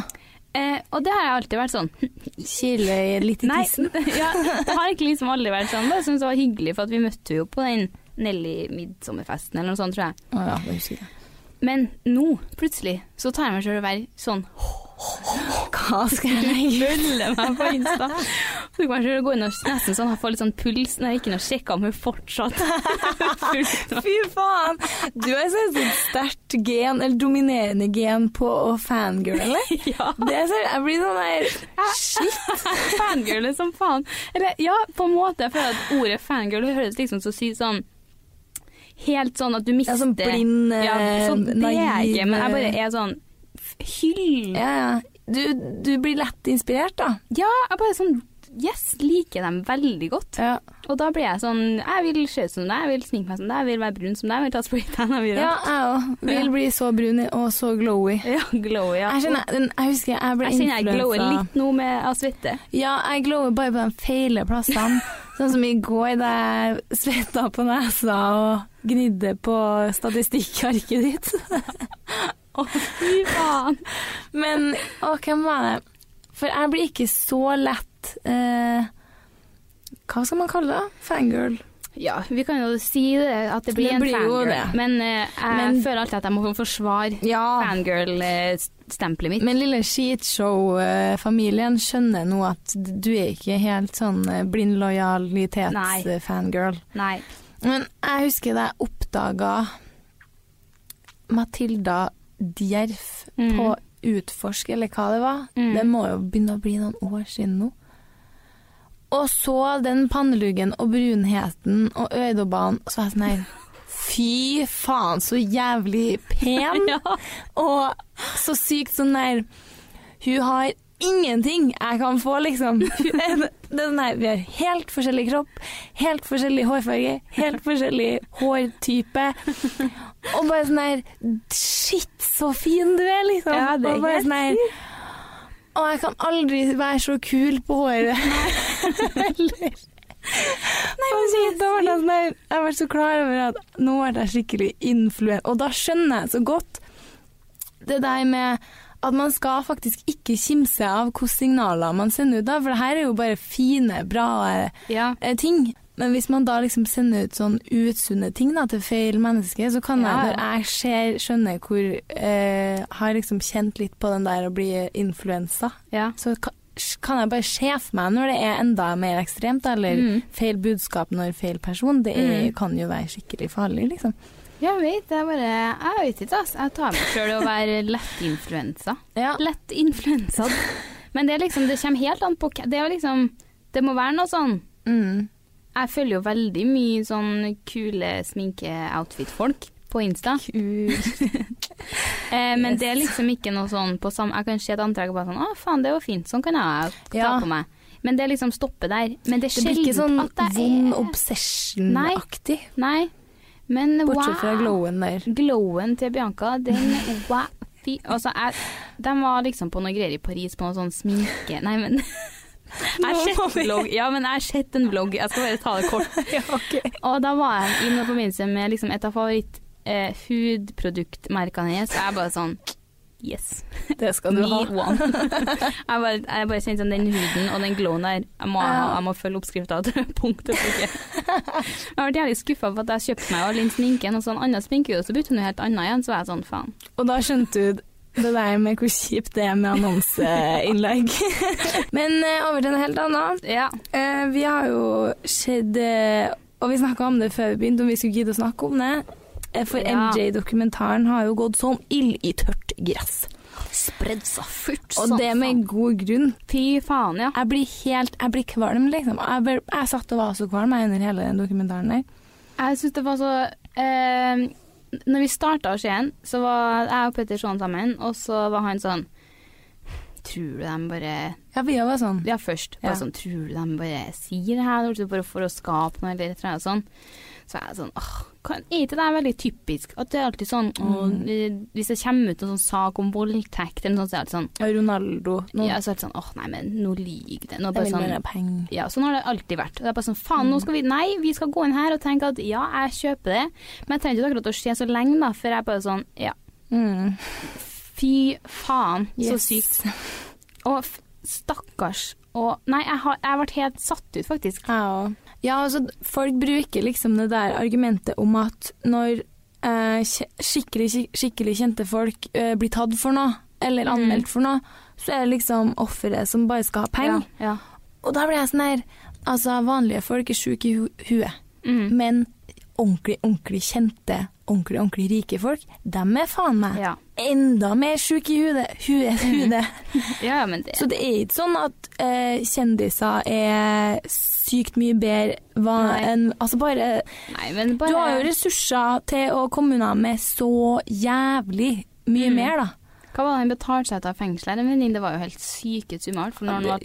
A: Eh, og det har jeg alltid vært sånn
B: Kile litt i
A: Nei,
B: tissen.
A: ja, det har egentlig liksom aldri vært sånn. Bare syns det var hyggelig, for at vi møtte henne jo på den Nelly-midtsommerfesten eller noe sånt, tror jeg.
B: Å ja, det husker jeg.
A: Men nå, plutselig, så tar jeg meg selv å være sånn
B: Hva skal jeg legge ut?
A: Følge meg på Insta. Så kan jeg selv gå inn og nesten sånn, jeg får litt sånn puls når jeg ikke har sjekka om hun fortsatt Fullt nå.
B: Fy faen! Du har sånn sånn sterkt gen, eller dominerende gen på å fangirle.
A: Ja,
B: Det er sånn, jeg blir sånn der Shit!
A: fangirl er som faen. Eller ja, på en måte. Jeg føler at ordet fangirl det høres liksom så sykt sånn Helt sånn at du mister
B: Ja, sånn blind, eh,
A: ja, sånn, Det er jeg ikke, men jeg bare er sånn Hyll.
B: Ja, ja. Du, du blir lett inspirert, da.
A: Ja, jeg bare sånn Yes, liker dem veldig godt.
B: Ja.
A: Og da blir jeg sånn Jeg vil se ut som deg, jeg vil sminke meg som deg, jeg vil være brun som deg, jeg vil ta spraytan av
B: ja,
A: myra.
B: jeg òg. Vil bli så brun og så glowy.
A: Ja, glowy, ja.
B: Jeg, kjenner, den- jeg husker jeg ble
A: Jeg kjenner jeg glower
B: influensa.
A: litt nå med av svette.
B: Ja, jeg glower bare på de feile plassene. sånn som i går da jeg svetta på nesa og gnidde på statistikkarket ditt.
A: Å, fy faen.
B: Men å, hvem var det? For jeg blir ikke så lett eh, Hva skal man kalle det? Fangirl.
A: Ja, vi kan jo si det, at det blir
B: Det
A: en
B: blir jo
A: fangirl.
B: det.
A: Men eh, jeg
B: Men-
A: føler alltid at jeg må forsvare
B: Ja.
A: fangirl-stempelet mitt.
B: Men lille skitshow-familien skjønner nå at du er ikke helt sånn eh, blind
A: Nei.
B: lojalitets-fangirl.
A: Nei.
B: Men jeg husker da jeg oppdaga Matilda Djerf
A: Mm.
B: på Utforsk, eller hva det var.
A: Mm.
B: Det må jo begynne å bli noen år siden nå. Og så den panneluggen og brunheten og øyedobbene, så var jeg sånn her Fy faen, så jævlig pen! Og så sykt sånn der Hun har ingenting jeg kan få, liksom. Hun er- Det er sånn der, vi har helt forskjellig kropp, helt forskjellig hårfarge, helt forskjellig hårtype. Og bare sånn der Shit, så fin du er, liksom.
A: Ja, det er
B: og bare
A: helt
B: sånn der Å, jeg kan aldri være så kul på håret. Eller Nei, men så, da ble jeg, sånn der, jeg ble så klar over at nå ble jeg skikkelig influent. Og da skjønner jeg så godt det der med at man skal faktisk ikke kimse av hvilke signaler man sender ut, da, for det her er jo bare fine, bra
A: Ja.
B: eh, ting. Men hvis man da liksom sender ut sånn utsunne ting da, til feil menneske, så kan
A: Ja, ja.
B: jeg, når jeg ser, skjønner hvor eh, Har liksom kjent litt på den der å bli influensa,
A: ja.
B: så ka- kan jeg bare se for meg når det er enda mer ekstremt, da, eller
A: Mm.
B: feil budskap når feil person. Det er,
A: Mm.
B: kan jo være skikkelig farlig, liksom.
A: Jeg vet, jeg bare Jeg vet ikke, altså. Jeg tar meg sjøl i å være lettinfluensa.
B: Ja.
A: lett influensa. Men det er liksom, det kommer helt an på hva- Det er jo liksom Det må være noe sånn
B: Mm.
A: Jeg følger jo veldig mye sånn kule sminkeoutfit-folk. på Insta. Eh, men det er liksom ikke noe sånn på samme Jeg kan se et antrekk og bare sånn Å, faen, det var fint. Sånn kan jeg ta
B: Ja.
A: på meg. Men det liksom stopper der. Men det er
B: Det blir ikke sånn
A: sjelden at det
B: vond
A: er
B: obsession-aktig,
A: Nei. Men
B: bortsett fra
A: wow.
B: glowen der.
A: Glowen til Bianca, den wow. Fy, altså, jeg, de var liksom på noe greier i Paris, på noe sånn sminke Nei, men Jeg har sett vlogg. Ja, men jeg har sett en vlogg. Jeg skal bare ta det kort. Og da var jeg i noe forbindelse med liksom et av favoritt eh, hudproduktmerkene hennes, og jeg bare sånn Yes.
B: Det skal
A: Me
B: du ha.
A: one. jeg, bare, jeg bare kjente sånn den huden og den glowen der. Jeg må, ha- jeg må følge oppskrifta til punkt og prikke. Jeg har vært jævlig skuffa for at jeg kjøpte meg all den sminken, og så en annen sminke, og så bytter hun helt annen igjen, så var jeg sånn faen.
B: Og da skjønte du det der med hvor kjipt det er med annonseinnlegg. Men eh, over til en helt annen.
A: Ja.
B: Eh, vi har jo sett eh, Og vi snakka om det før vi begynte, om vi skulle gidde å snakke om det. Eh, For
A: Ja.
B: MJ-dokumentaren har jo gått som ild i tørt gress.
A: Spredd seg sånn, fort
B: Og det med god grunn.
A: Fy faen, ja.
B: Jeg blir helt Jeg blir kvalm, liksom. Jeg, ble, jeg satt og var så kvalm jeg, under hele den dokumentaren der.
A: Jeg syns det var så eh, Når vi starta å se den, så var jeg og Petter sånn sammen, og så var han sånn Tror du de bare
B: Ja, vi òg var sånn.
A: Ja, først. Bare
B: Ja.
A: sånn Tror du de bare sier det her tror du bare for å skape noe eller et eller annet sånn? Så er jeg sånn åh, kan, Er ikke det her veldig typisk? At det er alltid sånn åh,
B: Mm.
A: Hvis det kommer ut en sånn sak om voldtekt eller noe sånt, så er det alltid sånn
B: Ronaldo. Nå,
A: Ja, så er det sånn åh, nei, men nå lyver det. Nå
B: jeg
A: bare
B: vil
A: sånn
B: mer ha penger.
A: ja, sånn har det alltid vært. Og det er bare sånn, faen, nå skal vi Nei, vi skal gå inn her og tenke at ja, jeg kjøper det, men jeg trenger ikke akkurat å se så lenge, da, for jeg er bare sånn Ja,
B: Mm.
A: fy faen, så
B: Yes.
A: sykt. Og f stakkars. Og Nei, jeg har jeg ble helt satt ut, faktisk.
B: Ja, og- ja altså, folk bruker liksom det der argumentet om at når eh, kje- skikkelig, skik- skikkelig kjente folk eh, blir tatt for noe, eller
A: Mm.
B: anmeldt for noe, så er det liksom offeret som bare skal ha penger.
A: Ja. ja.
B: Og da blir jeg sånn her Altså, vanlige folk er sjuke i hu huet,
A: Mm.
B: men ordentlig, ordentlig kjente, ordentlig, ordentlig rike folk, dem er faen meg
A: Ja. Mm.
B: enda mer sjuke i hudet. Huet, hudet.
A: ja, men det
B: Så det er ikke sånn at eh, kjendiser er sykt mye bedre hva
A: Nei.
B: enn Altså bare,
A: Nei, men bare
B: Du har jo ressurser til å komme unna med så
A: Mm.
B: jævlig mye mer, da.
A: Hva var det han betalte seg ut av fengselet? En venninne, det var jo helt syke summer. For når han var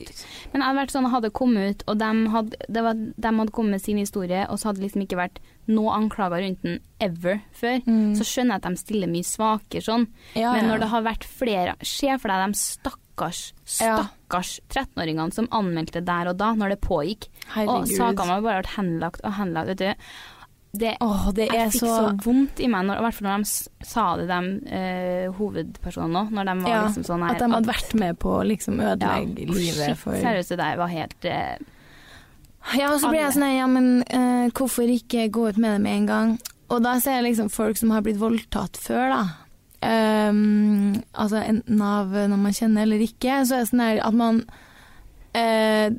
A: Men jeg hadde vært sånn, hadde kommet ut, og de hadde, det var, dem hadde kommet med sin historie, og så hadde det liksom ikke vært noe anklager rundt den ever før, så skjønner jeg at de stiller mye svakere sånn.
B: Mm. Ja,
A: Men
B: ja.
A: når det har vært flere Se for deg de stakkars,
B: Ja.
A: stakkars 13-åringene som anmeldte der og da, når det pågikk. Og
B: Herregud.
A: sakene har bare vært henlagt og henlagt, vet du. Det,
B: Åh, det er
A: jeg fikk så...
B: så
A: vondt i meg, når, i hvert fall når de s- sa det, de eh, hovedpersonene òg, når de var
B: ja,
A: liksom sånn her
B: At de hadde vært med på å liksom ødelegge
A: Shit,
B: livet for
A: seriøst, det der var helt eh,
B: Ja, og så blir jeg
A: Alle.
B: sånn her, ja, men eh, hvorfor ikke gå ut med det med en gang? Og da ser jeg liksom folk som har blitt voldtatt før, da. Ehm, altså enten av noen man kjenner eller ikke, så er det sånn her at man eh,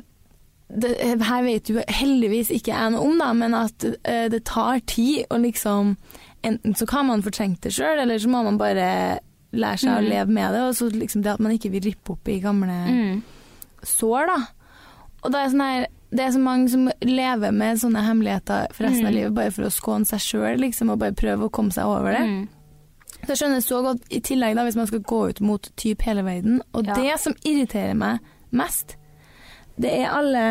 B: det, Her vet jo heldigvis ikke jeg noe om, da, men at eh, det tar tid å liksom Enten så kan man fortrenge det sjøl, eller så må man bare lære seg å leve med det. Og så liksom det at man ikke vil rippe opp i gamle
A: mm.
B: sår, da. Og da er sånn her, det er så mange som lever med sånne hemmeligheter for resten
A: Mm.
B: av livet, bare for å skåne seg sjøl, liksom, og bare prøve å komme seg over det.
A: Mm.
B: Så jeg skjønner så godt, i tillegg da, hvis man skal gå ut mot typ hele verden. Og
A: Ja.
B: det som irriterer meg mest, det er alle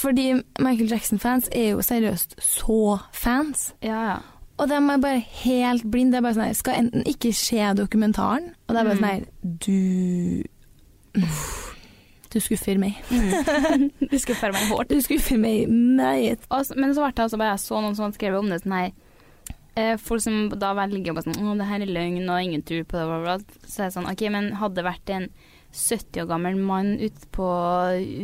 B: Fordi Michael Jackson-fans er jo seriøst så fans.
A: Ja, ja.
B: Og de er bare helt blinde. Det er bare sånn her, skal enten ikke se dokumentaren,
A: Mm.
B: og det er bare sånn her, du Du skuffer meg.
A: Du Mm. skulle følge meg hårt.
B: Du skuffer meg meget.
A: Og så- Men så ble det altså bare jeg så noen som hadde skrevet om det sånn her eh, Folk som da velger å bare sånn Å, det her er løgn, og ingen tror på det, bla, bla. bla». Så er det sånn OK, men hadde det vært en 70 år gammel mann ute på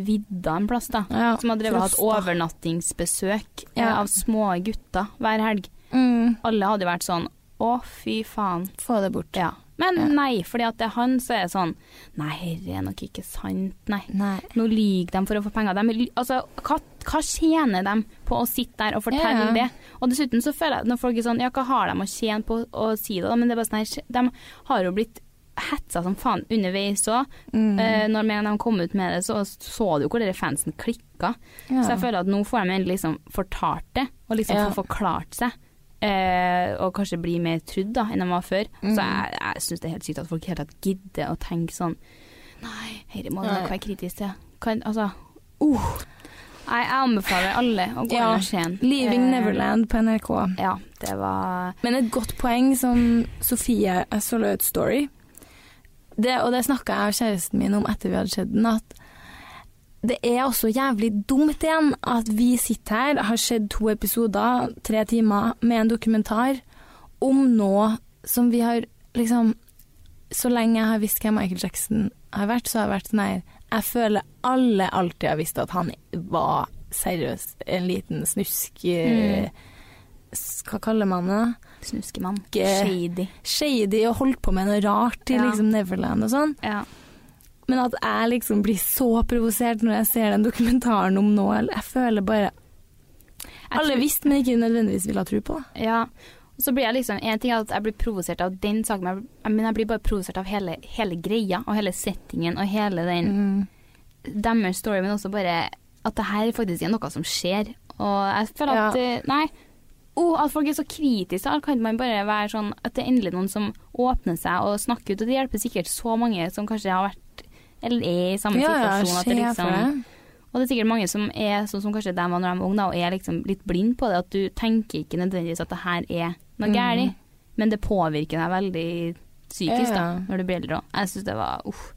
A: vidda en plass, da,
B: Ja,
A: som hadde drevet og hatt
B: Frosta.
A: overnattingsbesøk eh,
B: Ja.
A: av små gutter hver helg,
B: Mm.
A: alle hadde jo vært sånn Å, fy faen.
B: Få det bort.
A: Ja. Men
B: Ja.
A: nei, fordi at det er han, så er det sånn Nei, herre er nok ikke sant, nei.
B: Nei.
A: Nå lyver de for å få penger. De, ly- altså, hva, hva tjener de på å sitte der og fortelle
B: Ja.
A: det? Og dessuten så føler jeg at når folk er sånn Ja, hva har de å tjene på å si det? da? Men det er bare sånn her De har jo blitt hetsa som faen underveis òg.
B: Mm.
A: Eh, når med en gang de kom ut med det, så så du jo hvor dere fansen klikka.
B: Ja.
A: Så jeg føler at nå får de endelig liksom fortalt det, og liksom
B: Ja.
A: får forklart seg. eh, og kanskje bli mer trudd da, enn de var før. Så
B: Mm.
A: jeg, jeg syns det er helt sykt at folk i det hele tatt gidder å tenke sånn Nei, dette må du nok være kritisk til. Kan, altså, uh. Nei, jeg anbefaler alle å gå
B: Ja.
A: inn og se den.
B: Leaving
A: Eh,
B: Neverland på NRK.
A: Ja, det var
B: Men et godt poeng som Sofie jeg så la ut story, det, og det snakka jeg og kjæresten min om etter vi hadde sett den, at det er også jævlig dumt igjen at vi sitter her, har sett to episoder, tre timer, med en dokumentar om noe som vi har liksom Så lenge jeg har visst hvem Michael Jackson har vært, så har jeg vært sånn her Jeg føler alle alltid har visst at han var seriøst en liten snusk eh, s- Hva kaller man det? da?
A: Snuskemann.
B: Ikke-
A: Shady.
B: shady og holdt på med noe rart i
A: Ja.
B: liksom Neverland og sånn.
A: Ja.
B: Men at jeg liksom blir så provosert når jeg ser den dokumentaren om nå. Jeg føler bare
A: Jeg
B: Alle
A: tror-
B: visste, men ikke nødvendigvis ville ha tro på. da.
A: Ja. Og så blir jeg liksom En ting er at jeg blir provosert av den saken, men jeg, men jeg blir bare provosert av hele, hele greia og hele settingen og hele den deres story, men også bare at det her faktisk er noe som skjer. Og jeg føler at
B: Ja.
A: eh, Nei. Oh, at folk er så kritiske. da Kan man bare være sånn at det er endelig noen som åpner seg og snakker ut? Og det hjelper sikkert så mange som kanskje har vært eller er i samme situasjon. At det
B: skjer for
A: liksom,
B: det.
A: og det er sikkert mange som er sånn som kanskje dem var når de var unge, da, og er liksom litt blind på det. At du tenker ikke nødvendigvis at det her er
B: Mm.
A: noe galt, men det påvirker deg veldig psykisk da,
B: Ja.
A: når du blir eldre. også. Jeg syns det var uff.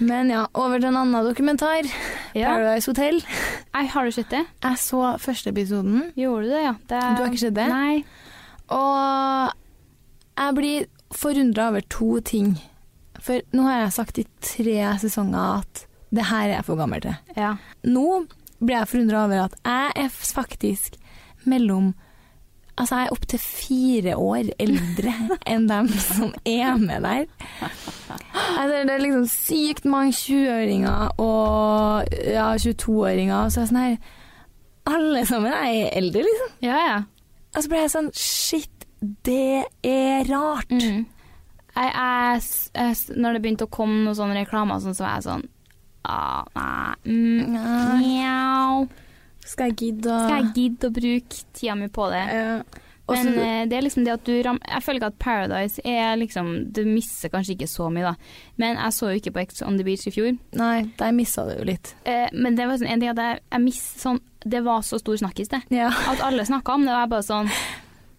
B: Men ja, over til en annen dokumentar.
A: Ja.
B: Paradise Hotel.
A: Nei, har du sett det?
B: Jeg så første episoden,
A: Gjorde du det, ja? Det...
B: Du har ikke sett det?
A: Nei.
B: og jeg blir forundra over to ting. For nå har jeg sagt i tre sesonger at det her er jeg for gammel til.
A: Ja.
B: Nå ble jeg forundra over at jeg er faktisk mellom Altså, jeg er opptil fire år eldre enn dem som er med der. Altså, det er liksom sykt mange 20-åringer og ja, 22-åringer, og så er jeg sånn her Alle sammen er eldre, liksom.
A: Ja, ja.
B: Og så ble jeg sånn Shit, det er rart.
A: Mm. Jeg, jeg, s- jeg, s- når det begynte å komme noen sånne reklamer, og sånn, så var jeg sånn ah, Nei. Mm,
B: Nei. Ah.
A: mjau.
B: Skal jeg gidde å
A: Skal jeg gidde å bruke tida mi på det? Men eh, det er liksom det at du ram Jeg føler ikke at Paradise er liksom Du mister kanskje ikke så mye, da. Men jeg så jo ikke på Ex on the Beach i fjor.
B: Nei, der missa du jo litt.
A: Eh, men det var sånn en ting at jeg, jeg miss- sånn Det var så stor snakkis, det.
B: Ja.
A: At alle snakka om det, og jeg bare sånn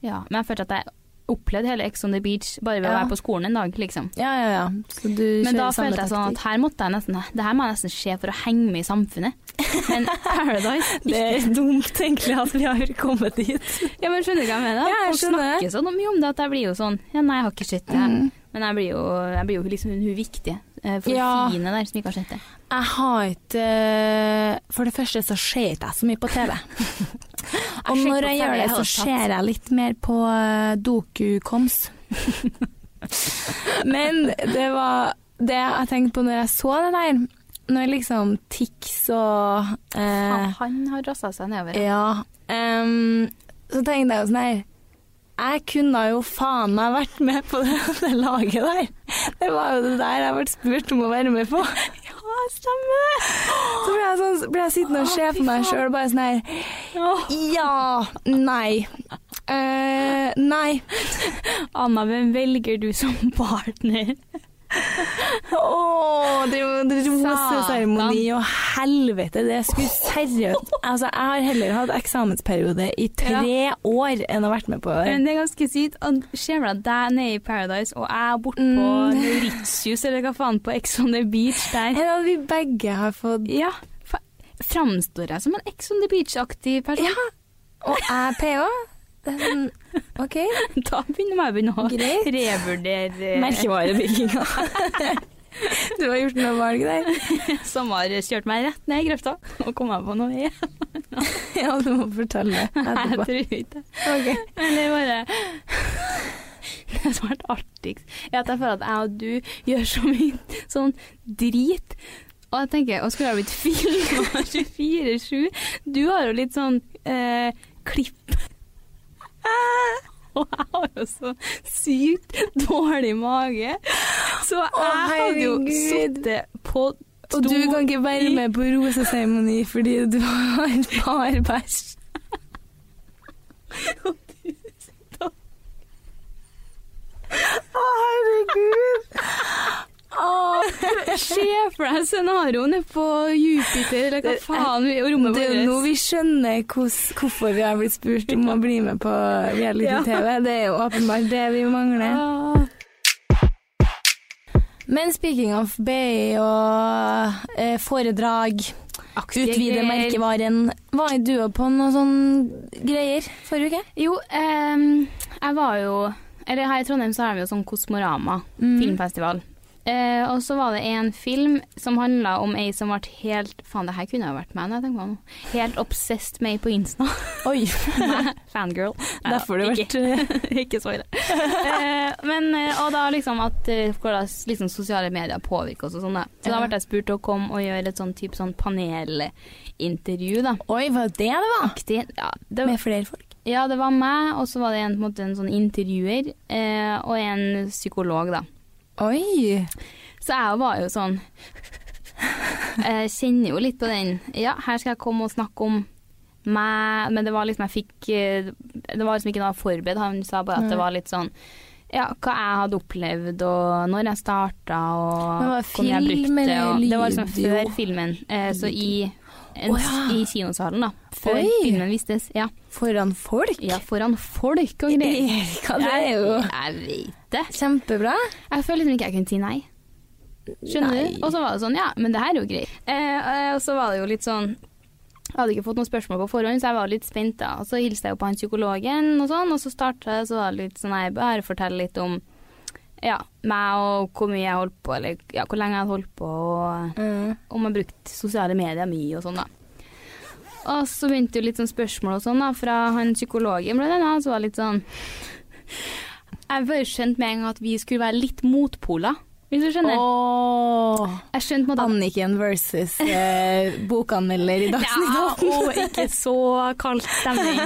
A: Ja. Men jeg følte at jeg opplevde hele Ex on the Beach bare ved å
B: Ja.
A: være på skolen en dag, liksom.
B: Ja, ja, ja. Så du
A: Men da
B: kjører samme
A: følte jeg sånn at
B: taktikk.
A: her måtte jeg nesten Det her må jeg nesten se for å henge med i samfunnet. Men Paradise
B: Det er dumt egentlig at vi har kommet dit.
A: Ja, men skjønner du hva jeg mener?
B: Ja, jeg
A: Folk
B: skjønner. Mm.
A: snakker så mye om det at jeg blir jo sånn Ja, nei, jeg har ikke sett det. Men jeg blir jo, jeg blir jo liksom hun viktige. eh, For
B: Ja.
A: fine der som ikke har sett det.
B: Jeg har ikke eh, For det første så ser ikke jeg så mye på TV.
A: ser ikke på
B: Og når jeg
A: TV
B: gjør det,
A: i hele
B: så
A: tatt.
B: ser jeg litt mer på eh, dokukoms. Men det var det jeg tenkte på når jeg så det der, når liksom Tix og eh,
A: Han, han har rassa seg nedover.
B: Ja. ehm, så tenkte jeg jo sånn her Jeg kunne jo faen meg vært med på det, det laget der. Det var jo det der jeg ble spurt om å være med på. Ja, stemmer Så ble jeg, sånn, ble jeg sittende og se på meg sjøl bare sånn her Ja. Nei. eh, nei.
A: Anna, hvem velger du som partner?
B: Å, det er jo roseseremoni og helvete. Det skulle seriøst Altså, jeg har heller hatt eksamensperiode i tre år enn å ha vært med på det.
A: Men det er ganske sykt. Han ser meg deg nede i Paradise, og jeg er borte
B: Mm.
A: på Mauritius eller hva faen, på Ex on the Beach der.
B: Eller at vi begge har fått
A: Ja. fa- Framstår jeg som en Ex on the Beach-aktig person?
B: Ja. Og jeg PH. Det er sånn, OK.
A: Da begynner jeg begynne å
B: Greit.
A: revurdere eh,
B: Merkevarebygginga. Du har gjort noe valg der.
A: som har kjørt meg rett ned i grøfta. Og kom jeg på noe igjen.
B: Ja, du må fortelle
A: Nei, jeg
B: etterpå.
A: tror ikke det.
B: Ok.
A: Men det er bare Det som har vært artigst, er at jeg føler at jeg og du gjør så mye sånn drit. Og jeg tenker, og skulle jeg blitt filma 24-7? Du har jo litt sånn eh, klipp. Og jeg har jo så sykt dårlig mage. Så jeg hadde jo
B: herregud.
A: sittet på
B: Og du kan ikke være med på roseseremoni fordi du har bare bæsj. Å, herregud.
A: Se for deg scenarioene på Jupiter, eller hva faen vi, og rommet
B: Det er jo nå vi skjønner hos- hvorfor vi har blitt spurt om å bli med på reality-TV. Det er jo åpenbart det vi mangler.
A: Ah.
B: Men speaking of BI og eh, foredrag, utvide
A: greier.
B: merkevaren Var ikke du på noe sånn greier forrige uke?
A: Jo, ehm, jeg var jo Eller her i Trondheim så har vi jo sånn Kosmorama
B: Mm.
A: filmfestival. Eh, og så var det en film som handla om ei som ble helt Faen, det her kunne jo vært meg når jeg tenker meg om. Helt obsessed med ei på Insta.
B: Oi,
A: Fangirl. Nei da,
B: derfor har du
A: ikke.
B: vært
A: ikke så ille. Eh, men, eh, og da liksom at eh, hvordan liksom sosiale medier påvirker oss og sånn, da. Så da
B: Ja.
A: ble jeg spurt til å komme og gjøre et sånn type sånn panelintervju, da.
B: Oi, var det det det var?
A: Aktig. Ja, det,
B: Med flere folk.
A: ja, det var meg, og så var det en, på en, måte, en sånn intervjuer eh, og en psykolog, da.
B: Oi!
A: Så jeg var jo sånn Jeg kjenner jo litt på den Ja, her skal jeg komme og snakke om meg, men det var liksom jeg fikk eh, Det var liksom ikke noe jeg forberedt. Han sa bare at det var litt sånn ja, hva jeg hadde opplevd, og når jeg starta,
B: Men var det
A: og hvordan jeg
B: film
A: brukte det.
B: eller
A: Og det var liksom
B: lyd, jo?
A: før filmen, eh, så i, en,
B: Å, ja.
A: i kinosalen, da. Før
B: Oi.
A: filmen vistes. Ja.
B: Foran folk?
A: ja, foran folk og greier.
B: Erika, det er jo
A: Jeg vet det.
B: kjempebra.
A: Jeg føler liksom ikke jeg kunne si nei. Skjønner
B: Nei.
A: du? Og så var det sånn, ja, men det her er jo greit. Eh, eh, og så var det jo litt sånn Jeg hadde ikke fått noen spørsmål på forhånd, så jeg var litt spent da. Og så hilste jeg jo på han psykologen og sånn, og så starta jeg, så var det litt sånn Jeg bare forteller litt om ja, meg og hvor mye jeg holdt på, eller ja, hvor lenge jeg hadde holdt på, og om jeg brukte sosiale medier mye og sånn, da. Og så begynte jo litt sånn spørsmål og sånn da, fra han psykologen blant annet, så var det litt sånn Jeg bare skjønte med en gang at vi skulle være litt motpoler, hvis du skjønner.
B: Åh,
A: jeg skjønte med at
B: Anniken versus eh, bokanmelder i Dagsnytt
A: ja,
B: 18.
A: og ikke så kaldt stemning.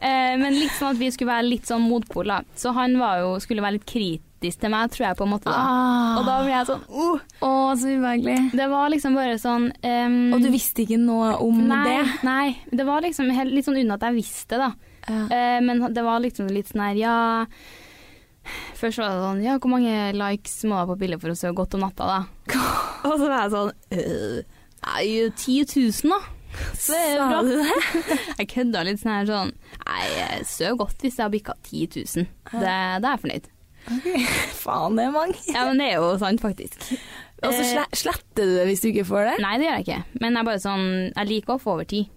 A: Eh, men litt sånn at vi skulle være litt sånn motpoler. Så han var jo, skulle være litt kritisk til meg, tror jeg, på en måte. Da. Og da ble jeg sånn uh,
B: Å, Ah. så ubehagelig.
A: Det var liksom bare sånn ehm,
B: Og du visste ikke noe om
A: nei,
B: det?
A: Nei. Det var liksom helt, litt sånn unna at jeg visste, da. Eh, men det var liksom litt sånn her, ja Først var det sånn, ja, hvor mange likes må jeg på bildet for å sove godt om natta, da? Og så var jeg sånn, øh, nei, 10 000 da. Så er det
B: Sa du
A: bra. Jeg kødda litt sånn her sånn, nei, jeg sover godt hvis jeg har bikka 10 000. Det, da er jeg fornøyd.
B: Faen, det er mange.
A: Ja, eh. men det er jo sant, faktisk.
B: Og så sle- sletter du det hvis du ikke får det?
A: Nei, det gjør jeg ikke. Men jeg er bare sånn, jeg liker å få over 10.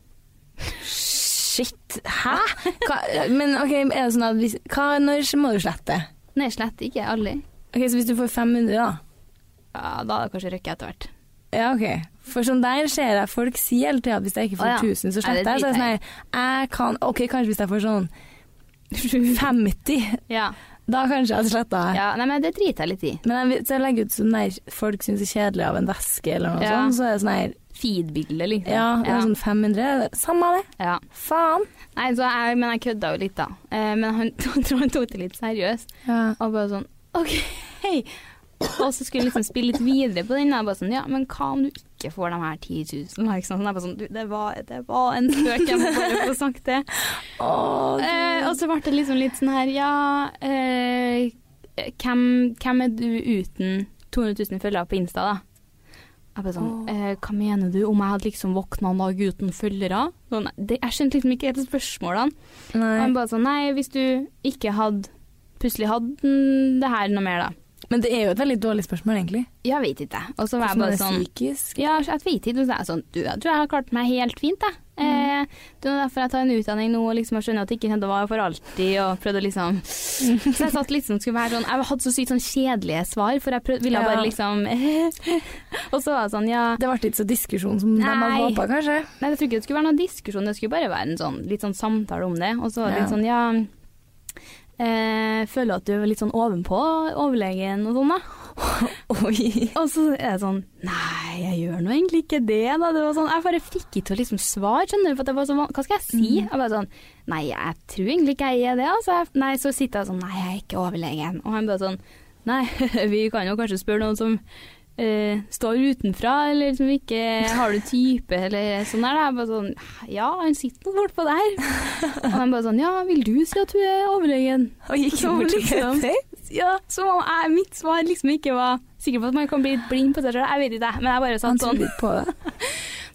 B: Shit, hæ? Hva, men ok, er det sånn at hvis, hva, når må du slette?
A: Nei, slett ikke, aldri.
B: Ok, Så hvis du får 500, da?
A: Ja, da hadde jeg kanskje røkket etter hvert.
B: Ja, ok. For sånn der ser jeg folk si hele tida at hvis jeg ikke får
A: Å, ja.
B: 1000, så
A: Nei, det
B: sletter jeg. Så er det sånn
A: driter jeg
B: her, jeg kan OK, kanskje hvis jeg får sånn 50,
A: Ja.
B: da kanskje jeg sletter.
A: ja, nei, men det driter jeg litt i.
B: Men jeg, vil- så jeg legger ut sånn der folk syns det er kjedelig av en veske eller noe
A: Ja.
B: sånt, så er det sånn her
A: Feed-bildet, liksom.
B: Ja, det er sånn 500. Samme det.
A: ja.
B: Faen.
A: Nei, så jeg, men jeg kødda jo litt, da. Eh, men han tror han tok det litt seriøst. Og bare sånn OK, hei. Og så skulle jeg liksom spille litt videre på den. da. Jeg bare sånn, ja, Men hva om du ikke får de her 10 000? da, Ikke sant? Sånn, jeg bare sånn, du, det, var, det var en spøk, jeg må bare få sagt det.
B: Åh, du-
A: Eh, og så ble det liksom litt sånn her, ja eh, hvem, hvem er du uten 200 000 følgere på Insta, da? Jeg bare sånn, eh, Hva mener du om jeg hadde liksom våkna en dag uten følgere? Sånn, det, jeg skjønte liksom ikke helt spørsmålene. Og
B: Nei.
A: Han bare sånn, nei, hvis du ikke hadde plutselig hadde mm, det her noe mer, da.
B: Men det er jo et veldig dårlig spørsmål, egentlig.
A: Jeg vet ikke. Og så var jeg
B: Hvordan
A: bare
B: det er
A: sånn
B: psykisk.
A: ja, jeg vet ikke. Og så er jeg sånn, du, jeg tror jeg har klart meg helt fint, jeg. Eh, det er derfor jeg tar en utdanning nå og liksom, jeg skjønner at det ikke kommer til å vare for alltid. Og prøvde å liksom Så jeg satt liksom skulle være sånn Jeg hadde så sykt sånn kjedelige svar, for jeg prøvde, ville
B: Ja.
A: bare liksom Og så var jeg sånn, ja
B: Det ble ikke så diskusjon som de hadde
A: Nei.
B: håpa, kanskje.
A: Nei, jeg tror ikke det skulle være noen diskusjon, det skulle bare være en sånn, litt sånn samtale om det. Og så var det
B: Ja.
A: litt sånn, ja eh, Føler at du er litt sånn ovenpå overlegen og sånn, da.
B: Oi.
A: Og så er det sånn Nei, jeg gjør nå egentlig ikke det, da. Det var sånn, jeg bare fikk ikke til å liksom svare, skjønner du. For at det var sånn, hva skal jeg si?
B: Mhm.
A: Jeg bare sånn Nei, jeg tror egentlig ikke jeg er det, altså. Jeg- Nei, så sitter jeg sånn Nei, jeg er ikke overlegen. Og han bare sånn Nei, vi kan jo kanskje spørre noen som eh, står utenfra, eller liksom ikke har du type, eller sånn der. da. Jeg bare sånn Ja, han sitter nå bortpå der. Og de bare sånn Ja, vil du si at hun er overlegen?
C: Og gikk
A: Som
C: bort til
A: liksom-
C: Petter.
A: Ja, som om jeg, mitt svar liksom ikke var sikker på at man kan bli litt blind på seg sjøl. Jeg vet ikke, jeg. Men jeg bare
B: Han
A: satt
B: tror
A: sånn.
B: litt på det.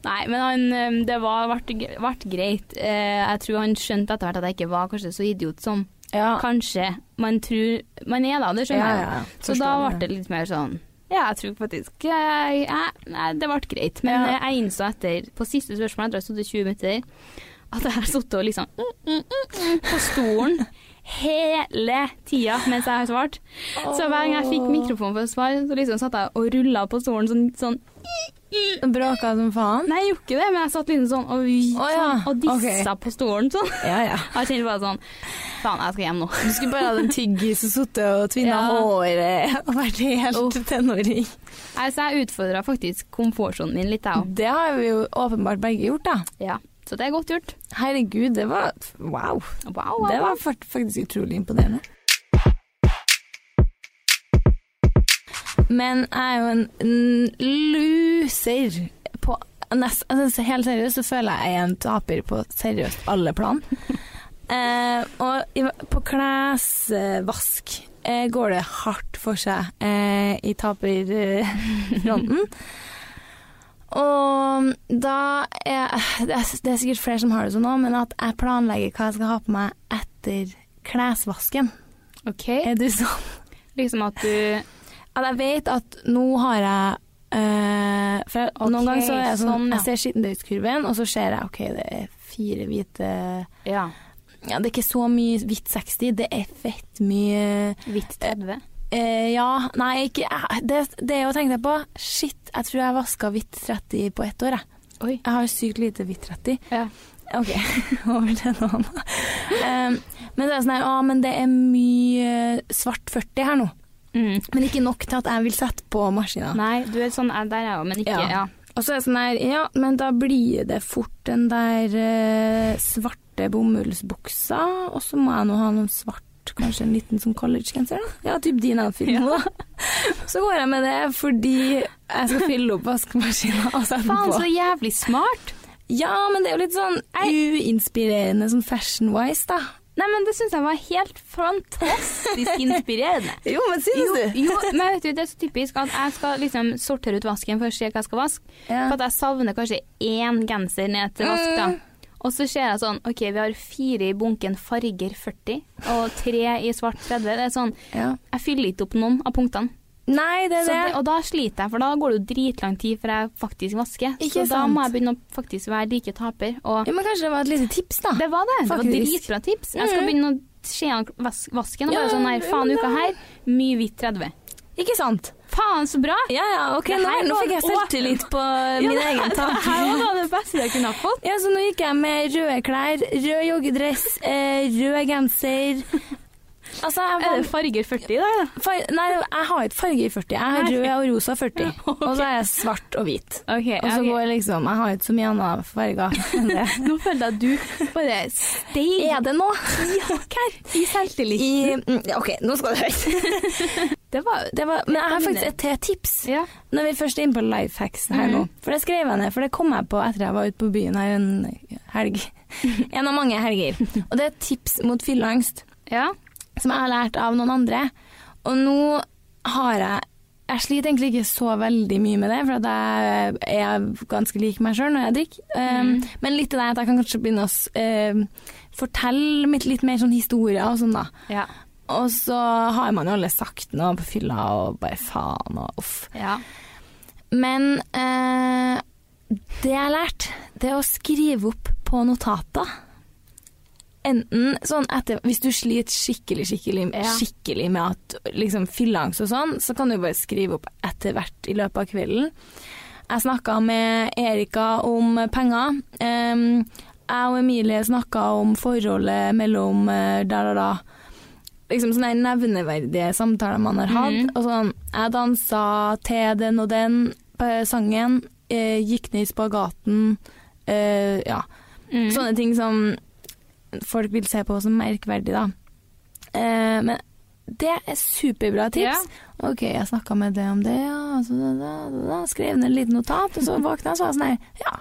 A: Nei, men han, øhm, det var, ble, greit. Eh, Jeg tror han skjønte etter hvert at jeg ikke var kanskje så idiot som
B: Ja.
A: kanskje man tror man er, da. Det skjønner
B: Ja,
A: jeg.
B: ja,
A: så da ble det litt mer sånn ja, jeg tror faktisk eh, jeg- Nei, det ble greit. Men
B: Ja.
A: eh, jeg innså etter, på siste spørsmål, etter å ha sittet 20 minutter, at jeg har sittet og liksom mm, mm, mm, mm, på stolen hele tida mens jeg har svart. Så hver gang jeg fikk mikrofon for å svare, så liksom satt jeg og rulla på stolen sånn, sånn
B: Bråka som faen.
A: Nei, jeg gjorde ikke det, men jeg satt liksom sånn og,
B: Å ja,
A: sånn, og dissa på stolen sånn.
B: Ja, ja.
A: Jeg kjente bare sånn Faen, jeg skal hjem nå.
B: Du skulle bare hatt en tyggis og sittet og tvinna
A: Ja.
B: håret og vært helt
A: Oh.
B: tenåring.
A: Nei, så Altså, jeg utfordra faktisk komfortsonen min litt, jeg òg.
B: Det har vi jo åpenbart begge gjort, da.
A: Ja. Så det er godt gjort.
B: Herregud, det var wow.
A: Wow, wow,
B: Det var
A: wow.
B: fakt- faktisk utrolig imponerende. Men jeg er jo en n- loser på nest, altså Helt seriøst så føler jeg jeg er en taper på seriøst alle plan. eh, og i- på klesvask eh, går det hardt for seg eh, i taperfronten. Og da er, det, er, det er sikkert flere som har det sånn òg, men at jeg planlegger hva jeg skal ha på meg etter klesvasken.
A: OK.
B: Er du sånn?
A: Liksom at du
B: At jeg vet at nå har jeg eh, For jeg,
A: Ok,
B: noen ganger så er jeg sånn,
A: sånn, ja.
B: Jeg ser skittentøyskurven, og så ser jeg OK, det er fire hvite
A: Ja.
B: Ja, det er ikke så mye hvitt 60, det er fett mye
A: Hvitt 30.
B: Eh, ja, nei, ikke eh, Det, det jeg tenkte jeg på Shit, jeg tror jeg vaska hvitt 30 på ett år, jeg.
A: Oi.
B: Jeg har sykt lite hvitt 30.
A: Ja.
B: OK, over til noe annet. Em, men det er sånn her, å, men det er mye svart 40 her nå.
A: Mm.
B: Men ikke nok til at jeg vil sette på maskina.
A: Nei, du er sånn Der er jeg òg, men ikke
B: Ah. Ja.
A: Ja.
B: Og så er det sånn her, ja, men da blir det fort den der eh, svarte bomullsbuksa, og så må jeg nå ha noen svart Kanskje en liten sånn collegegenser, da. Ja, typ din outfit nå, da. Så går jeg med det fordi jeg skal fylle opp vaskemaskina og sette
A: Faen,
B: på.
A: så jævlig smart!
B: Ja, men det er jo litt sånn uinspirerende sånn fashion-wise, da.
A: Nei, men det syns jeg var helt fantastisk inspirerende.
B: Jo, men
A: Jo,
B: synes
A: jo, men vet du, det er så typisk at jeg skal liksom sortere ut vasken for å se hva jeg skal vaske.
B: Ja. Mm.
A: For at jeg savner kanskje én genser ned til vask, da. Og så ser jeg sånn OK, vi har fire i bunken farger 40, og tre i svart 30. Det er sånn
B: Ja.
A: Jeg fyller ikke opp noen av punktene.
B: Nei, det
A: Så
B: er det.
A: det, og da sliter jeg, for da går det jo dritlang tid før jeg faktisk vasker.
B: Ikke
A: så da må
B: sant?
A: jeg begynne å faktisk være like taper. Og
B: Ja, men kanskje det var et lite tips, da.
A: det var det. Det var
B: Faktisk.
A: dritbra tips. Jeg skal
B: Mhm.
A: begynne å se an vas- vasken og
B: Ja,
A: bare sånn her, faen,
B: men
A: uka
B: da-
A: her, mye hvitt 30.
B: Ikke sant?
A: Faen, så bra!
B: Ja, ja, ok,
A: Det
B: nå,
A: her
B: nå
A: var
B: fikk jeg
A: en åpen-
B: selvtillit på min
A: det-
B: egen
A: Det
B: taper.
A: her var noe av det beste jeg kunne ha fått.
B: Ja, så nå gikk jeg med røde klær, rød joggedress, eh, rød genser. Altså, jeg
A: Er
B: var...
A: det farger 40 i dag, da?
B: far- Nei, jeg har ikke farge i 40. Jeg har
A: Nei.
B: rød og rosa 40.
A: ok.
B: Og så er jeg svart og hvit.
A: Ok,
B: Og så går jeg liksom Jeg har ikke så mye annet farger enn det.
A: Nå følte jeg at du bare steg
B: Er det nå?
A: i selvtillit.
B: I, mm, ja, OK, nå skal du høre.
A: Det var
B: Det var, men jeg har faktisk et til tips.
A: Ja. Mhm.
B: Når vi først er inne på lifehacks her nå, for det skrev jeg ned, for det kom jeg på etter jeg var ute på byen her en helg. En av mange helger. Og det er et tips mot fylleangst
A: ja.
B: som jeg har lært av noen andre. Og nå har jeg Jeg sliter egentlig ikke så veldig mye med det, for at jeg er ganske lik meg sjøl når jeg drikker. Um,
A: Mhm.
B: Men litt av det at jeg kan kanskje begynne å s- um, fortelle mitt- litt mer sånn historier og sånn, da.
A: Ja.
B: Og så har man jo alle sagt noe på fylla og bare faen og uff.
A: ja.
B: Men eh, det jeg har lært, det er å skrive opp på notater. Enten sånn etter Hvis du sliter skikkelig, skikkelig,
A: Ja.
B: skikkelig med at liksom fylleangst og sånn, så kan du bare skrive opp etter hvert i løpet av kvelden. Jeg snakka med Erika om penger. ehm, Em, jeg og Emilie snakka om forholdet mellom eh, der og da. Liksom sånne nevneverdige samtaler man har hatt. Og sånn, jeg dansa til den og den eh, sangen. eh, gikk ned i spagaten. eh, ja.
A: Mm.
B: Sånne ting som folk vil se på som merkverdig, da. Eh, men Det er superbra tips. Ok, jeg snakka med det om det, ja. Så da, da, da, da. Skrev ned et lite notat, og så våkna jeg og så var jeg sånn her Ja,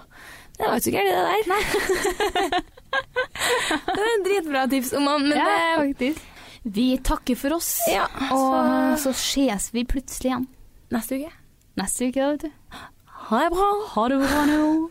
B: det var jo ikke gærent, det der. det er en dritbra tips, Oman, men
A: Ja,
B: det
A: faktisk. Vi takker for oss,
B: Ja,
A: og så ses vi plutselig igjen
B: neste uke.
A: neste uke. da, vet du.
B: Ha det bra.
A: Ha det bra nå.